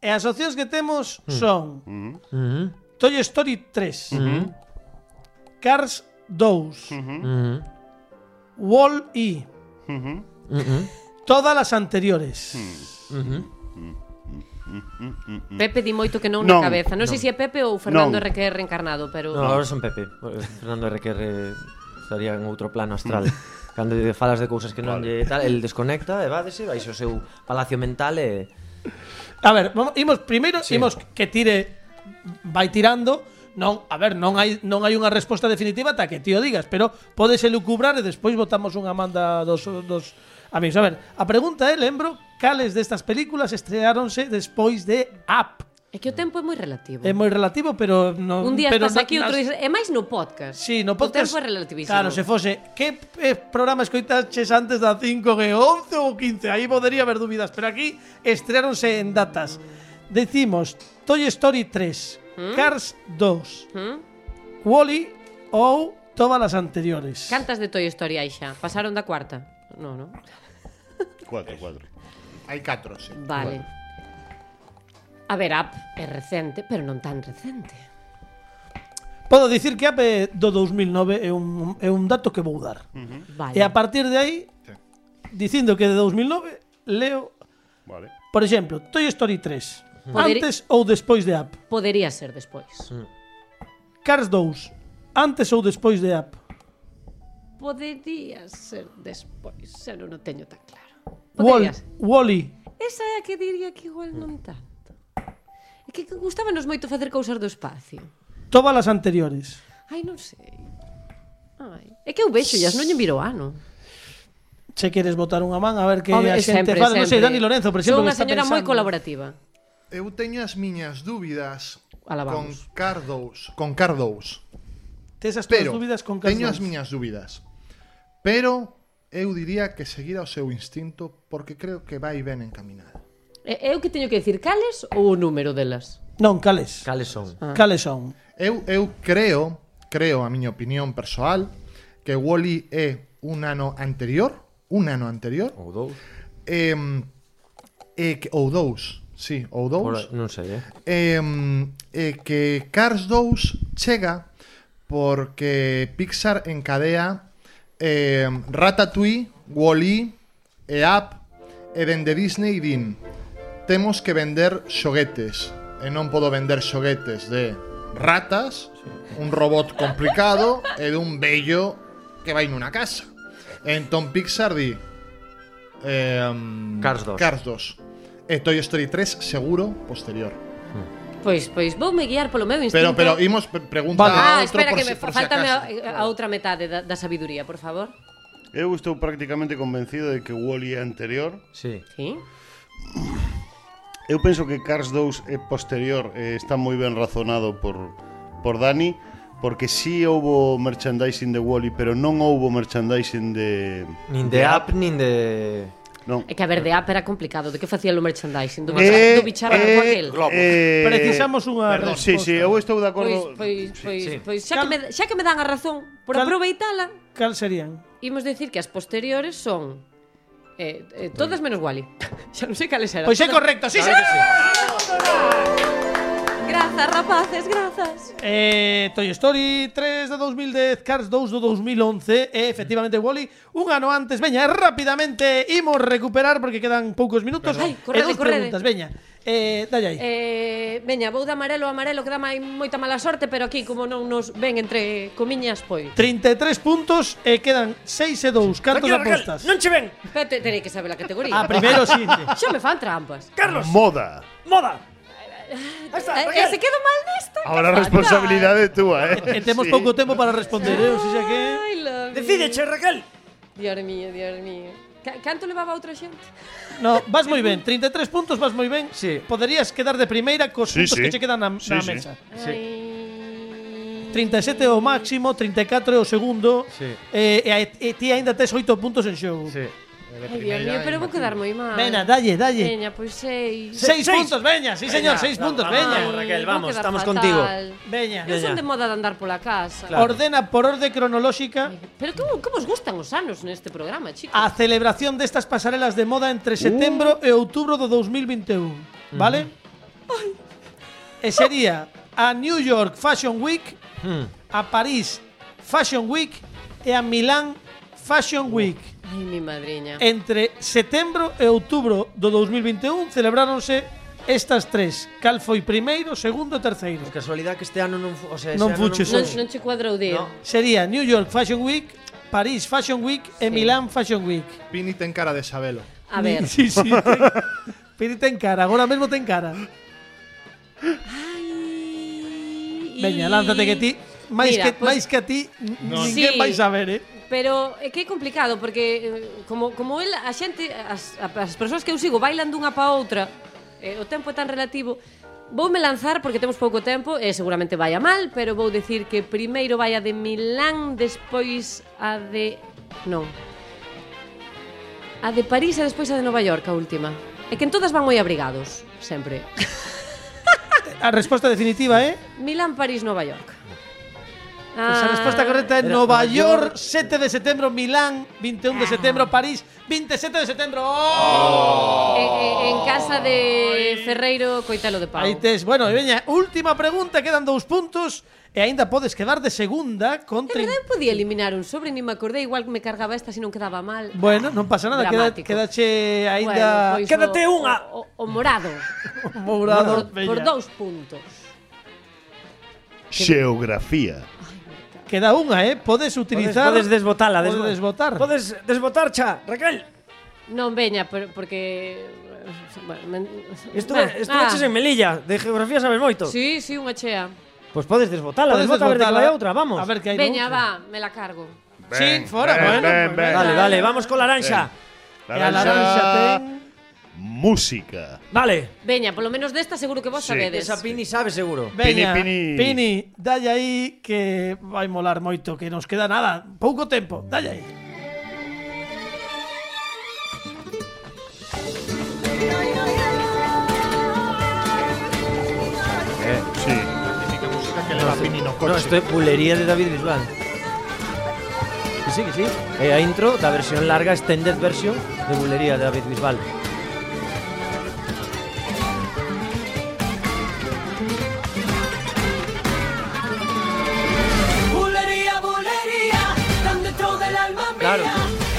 e as opcións que temos son Mm Toy Story 3, Mm-hmm. Cars 2, Mm-hmm. Wall E, Mm-hmm. Mm-hmm. todas as anteriores. Mm. Pepe di moito que non, Non. na cabeza. Non, sei se é Pepe ou Fernando Non. RQR encarnado, pero No, agora son Pepe. Fernando RQR estaría en outro plano astral. Cando lle falas de cousas que non lle tal, el desconecta, evádese, vais ao seu palacio mental e... A ver, vamos, imos primeiro Sí. imos que tire vai tirando. Non, a ver, non hai non hai unha resposta definitiva ata que tío digas, pero podes elucubrar e despois botamos unha manda dos dos amigos. A ver, a pregunta é, lembro, cales destas películas estreáronse despois de Up? é que o tempo é moi relativo. É moi relativo, pero non Un día pero estás aquí, nas- outro día... É máis no podcast. Sí, no podcast. O tempo é relativísimo. Claro, se fose que eh, programa escoitaches antes da 5 que 11 ou 15, aí podería haber dúbidas, pero aquí estreáronse en datas. Decimos Toy Story 3, Cars 2, ¿Mm? Wally ou todas as anteriores. Cantas de Toy Story hai xa? Pasaron da cuarta? No, no. Cuatro, cuatro. Hai catro, sí. Vale. A ver, Up é recente, pero non tan recente. Podo dicir que ape do 2009 é un, é un dato que vou dar. E Vale. a partir de aí, dicindo que de 2009, leo, Vale. por exemplo, Toy Story 3, Poderi- antes ou despois de Up. Podería ser despois. Mm. Cars 2, antes ou despois de Up. Podería ser despois, xa non o teño tan claro. Wall, Podería ser. Wally. Esa é a que diría que igual Mm. non tanto. É que gustábanos moito facer cousas do espacio. Todas as anteriores. Ai, non sei. Ai. É que eu vexo, xas non lle miro o ano. Se queres botar unha man a ver que Home, a xente fala, non sei, Dani Lorenzo, por exemplo, Son que unha está señora moi pensando. colaborativa. Eu teño as miñas dúbidas Ala, con vamos. Cardous, con Cardous. Tes as túas Pero dúbidas con Cars teño as 2. miñas dúbidas. Pero eu diría que seguir ao seu instinto porque creo que vai ben encaminado. E- Eu que teño que decir cales ou o número delas? Non, cales. Cales son? Ah. Cales son. Eu, eu creo, creo a miña opinión persoal, que Wally é un ano anterior, un ano anterior, Ou dous? em, e que, ou dous, sí, ou dous. Por, non sei, eh? em, e que Cars 2 chega porque Pixar encadea em, Ratatouille, Wall-E e Up e dende Disney din temos que vender xoguetes e non podo vender xoguetes de ratas, un robot complicado e dun bello que vai nunha casa. Entón Pixar di em, Cars 2. Cars 2. E Toy Story 3 seguro posterior. Pois, pois, voume guiar polo meu instinto. Pero, pero imos pre- pregunta Vale. a Ah, outro espera, por que si, me por fa- si faltame acaso. a, a outra metade da, da sabiduría, por favor. Eu estou prácticamente convencido de que Wall-E é anterior. Sí. Sí. Eu penso que Cars 2 é posterior, eh, está moi ben razonado por, por Dani, porque si sí houbo merchandising de Wall-E, pero non houbo merchandising de... Nin de app, nin de... Non. É que a ver, de app era complicado. De que facía o merchandising? Do, bicha, Eh, do bicharraco eh, aquel? Globo. eh, Precisamos unha perdón, Sí, sí, resposta. eu estou de Pois, acordo. pois, pois, sí. pois xa, que me, xa que me dan a razón por Cal- aproveitala, Cal serían? imos decir que as posteriores son eh, eh, todas menos Wally. xa non sei cales eran. Pois é correcto, sí, señor. Grazas, rapaces, grazas. Eh, Toy Story 3 de 2010, Cars 2 do 2011 e efectivamente Wally un ano antes. Veña, e rapidamente imos recuperar porque quedan poucos minutos. Perdón. Ai, e correde, dos correde. preguntas, veña. Eh, dalle aí. Eh, veña, vou de amarelo a amarelo que dá mai moita mala sorte, pero aquí como non nos ven entre comiñas, pois. 33 puntos e quedan 6 e 2. Cantos Tranquila, Raquel, apostas? non che ven. Pero te- terei que saber a categoría. Ah, primeiro sí. Xa me fan trampas. Carlos, Moda. moda. Está, Eh, Raquel. se quedo mal desta? Ahora a responsabilidade é túa, eh? E temos pouco tempo para responder, eh? O sea que... Ai, love Decídeche, Raquel. you. Dios mío, Dios mío. Ca- Canto levaba outra xente? No, vas moi ben. 33 puntos, vas moi ben. Sí. Poderías quedar de primeira cos Sí, puntos sí. que che quedan na, na Sí, sí. mesa. Sí. Ai. 37 é o máximo, 34 é o segundo. Sí. Eh, e, a- e ti aínda tes 8 puntos en xogo. Sí. Ai, Dios mío, pero vou quedar moi mal. Veña, dalle, dalle. Veña, pois seis. 6 puntos, veña, sí señor, 6 puntos, veña. vamos, Raquel, vou vamos, quedar estamos fatal. contigo. Veña. Non son Veña. de moda de andar pola casa. Claro. Ordena por orde cronolóxica Pero como, como os gustan os anos neste programa, chicos? a celebración destas pasarelas de moda entre setembro e outubro do 2021, vale? E sería a New York Fashion Week, Hmm. a París Fashion Week e a Milán Fashion Week. Ai, mi madriña. Entre setembro e outubro do 2021 e celebráronse estas tres. Cal foi primeiro, segundo e terceiro? Por casualidade que este ano non, fu- o sea, Non este ano fuches non non, son- non che cuadrou deo. No. Sería New York Fashion Week, París Fashion Week e Milán Fashion Week. Pini ten cara de sabelo. A ver. Sí, sí. ten- Pini ten cara, agora mesmo ten cara. Ai. Veña, lánzate que ti máis Mira, que pois- máis que a ti ninguén Sí. vai saber, eh. Pero é que é complicado porque eh, como como el a xente as, a- as persoas que eu sigo bailan dunha pa outra, eh, o tempo é tan relativo. Voume lanzar porque temos pouco tempo e seguramente vai a mal, pero vou decir que primeiro vai a de Milán, despois a de non. A de París e despois a de Nova York, a última. É que en todas van moi abrigados, sempre. A resposta definitiva eh. é Milán, París, Nova York. Pois a Ah. resposta correcta é Era Nova Nova York, 7 de setembro, Milán, 21 de Ah. setembro, París, 27 de setembro. Oh! En, en casa de Ferreiro Coitelo de Pau. Aí tes, bueno, e veña, última pregunta, quedan dous puntos e aínda podes quedar de segunda con É trin- verdade, eu podía eliminar un sobre, ni me acordei, igual que me cargaba esta se non quedaba mal. Bueno, non pasa nada, queda, Dramático. quedache Bueno, aínda pois Quédate o- unha. O, o morado. mourado, por, por veña. dous puntos. Xeografía. Queda unha, eh? Podes utilizar Podes desbotala, Podes desbo- desbotar. Podes desbotar, cha, Raquel. Non veña, por, porque... Bueno, men, ah, Estuve, estuveches en Melilla, de geografía sabes moito. Sí, sí, unha chea. Pois podes desbotala, Podes desbota a ver de que desbotala. vai a outra, vamos. A ver que hai Veña, noutra. va, me la cargo. Sí, fora, bueno, pues venga. Vale, vale, vamos con la aranxa. E a laranxa ten Música. Vale. Veña, polo menos desta seguro que vos Sí. sabedes. Esa Pini sabe seguro. Veña, Pini, Pini. Pini, dalle aí que vai molar moito, que nos queda nada, pouco tempo, dalle aí. Sí. No, isto é pulería de David Bisbal. Que sí, que sí. É a intro da versión larga, extended version, de bulería de David Bisbal. Claro.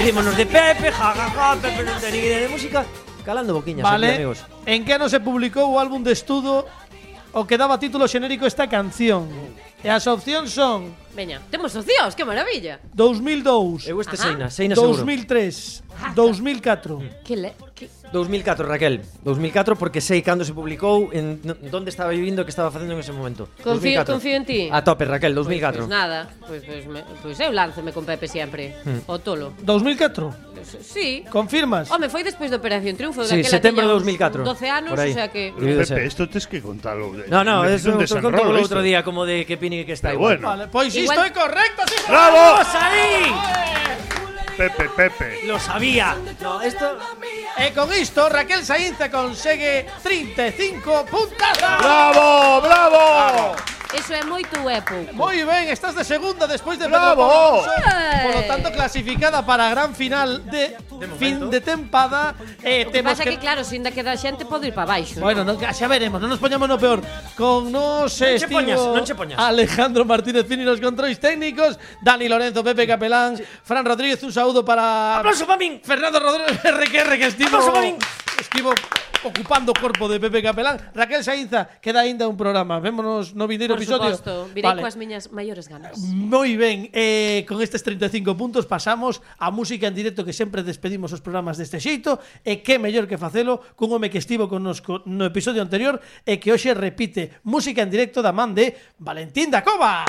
Rímonos de Pepe, jajaja, Pepe non ten Ni idea de música, calando boquiñas, Vale. aquí, amigos. En que ano se publicou o álbum de estudo o que daba título xenérico a esta canción? E as opcións son Veña, temos socios, que maravilla. 2002, Eu este Ajá. Seina, Seina seguro. 2003, 2004. Que le... Que... 2004, Raquel. 2004 porque sei cando se publicou, en no- onde estaba vivindo e que estaba facendo en ese momento. Confío- 2004. confío en ti. Pues A tope, Raquel, Pois, 2004. pois nada, pois, pois, me, pois eu lánceme con Pepe sempre. O tolo. 2004. Sí. Confirmas? Home, foi despois da Operación Triunfo. Sí, daquela setembro de tiña uns 2004. 12 anos, Por aí. o sea que... Yo de ser. Pepe, esto tienes que contarlo. No, no, Necesito eso un contou desenrolo o isto. outro día como de que Pini que está Pero igual. bueno. Vale, pois Igual- isto é correcto, sí, señor. ¡Bravo! ¡Ahí! Pepe, Pepe. Lo sabía. No, esto E con isto Raquel Sainz consegue 35 puntazos. ¡Bravo, bravo! Eso é moito ou é pouco. Moi ben, estás de segunda despois de Bravo. Pedro Alonso. Ey. Por lo tanto clasificada para a gran final de, fin de tempada e Que temos pasa que que, claro, sin da queda xente pode ir para baixo. Bueno, non, xa veremos, non nos poñamos no peor Con Non nos che estivo poñas, non che poñas. Alejandro Martínez Fini nos controis técnicos Dani Lorenzo, Pepe Capelán Fran Rodríguez, un saúdo para Aplauso pa min. Fernando Rodríguez RQR que estivo Aplauso pa min. estivo ocupando o corpo de Pepe Capelán. Raquel Sainza, queda ainda un programa. Vémonos no vindeiro Por episodio. suposto, virei Vale. coas miñas maiores ganas. Moi ben, eh, con estes 35 puntos pasamos a música en directo que sempre despedimos os programas deste xeito e que mellor que facelo cun home que estivo connosco no episodio anterior e que hoxe repite música en directo da man de Valentín da Cova.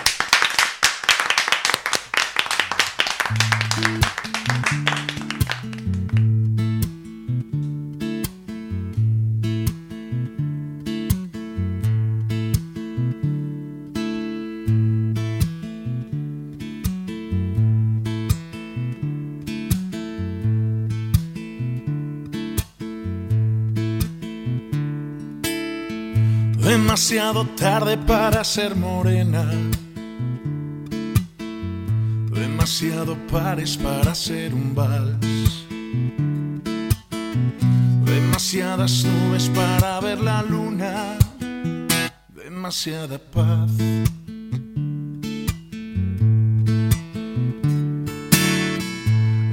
Demasiado tarde para ser morena. Demasiado pares para ser un vals. Demasiadas nubes para ver la luna. Demasiada paz.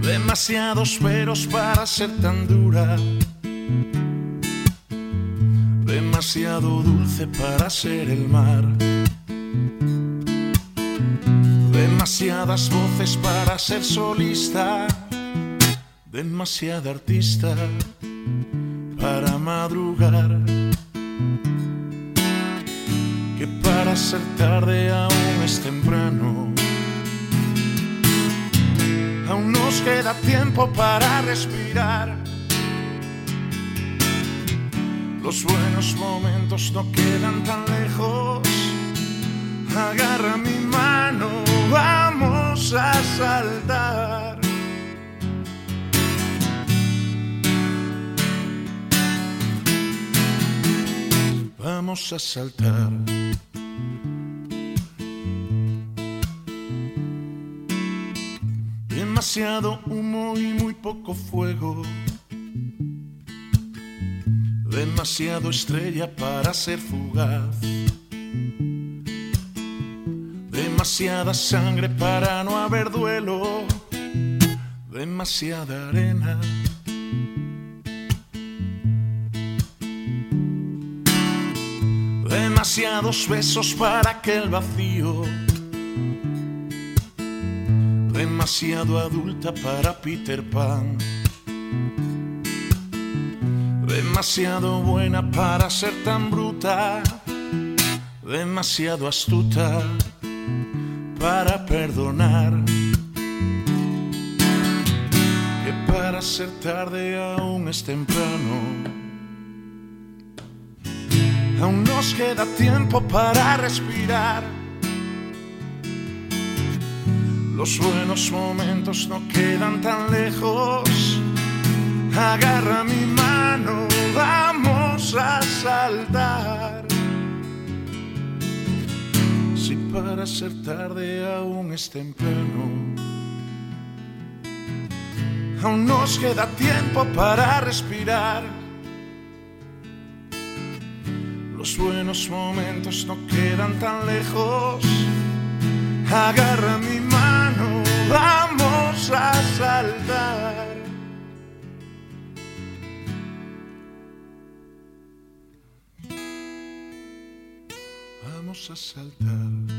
Demasiados veros para ser tan dura. demasiado dulce para ser el mar. Demasiadas voces para ser solista, demasiada artista para madrugar. Que para ser tarde aún es temprano. Aún nos queda tiempo para respirar. Los buenos momentos no quedan tan lejos. Agarra mi mano, vamos a saltar. Vamos a saltar. Demasiado humo y muy poco fuego. Demasiado estrella para ser fugaz. Demasiada sangre para no haber duelo. Demasiada arena. Demasiados besos para que el vacío. Demasiado adulta para Peter Pan. Demasiado buena para ser tan bruta, demasiado astuta para perdonar. Que para ser tarde aún es temprano. Aún nos queda tiempo para respirar. Los buenos momentos no quedan tan lejos. Agarra mi mano, vamos a saltar. Si para ser tarde aún es temprano, aún nos queda tiempo para respirar. Los buenos momentos no quedan tan lejos. Agarra mi mano, vamos a saltar. Vamos a saltar.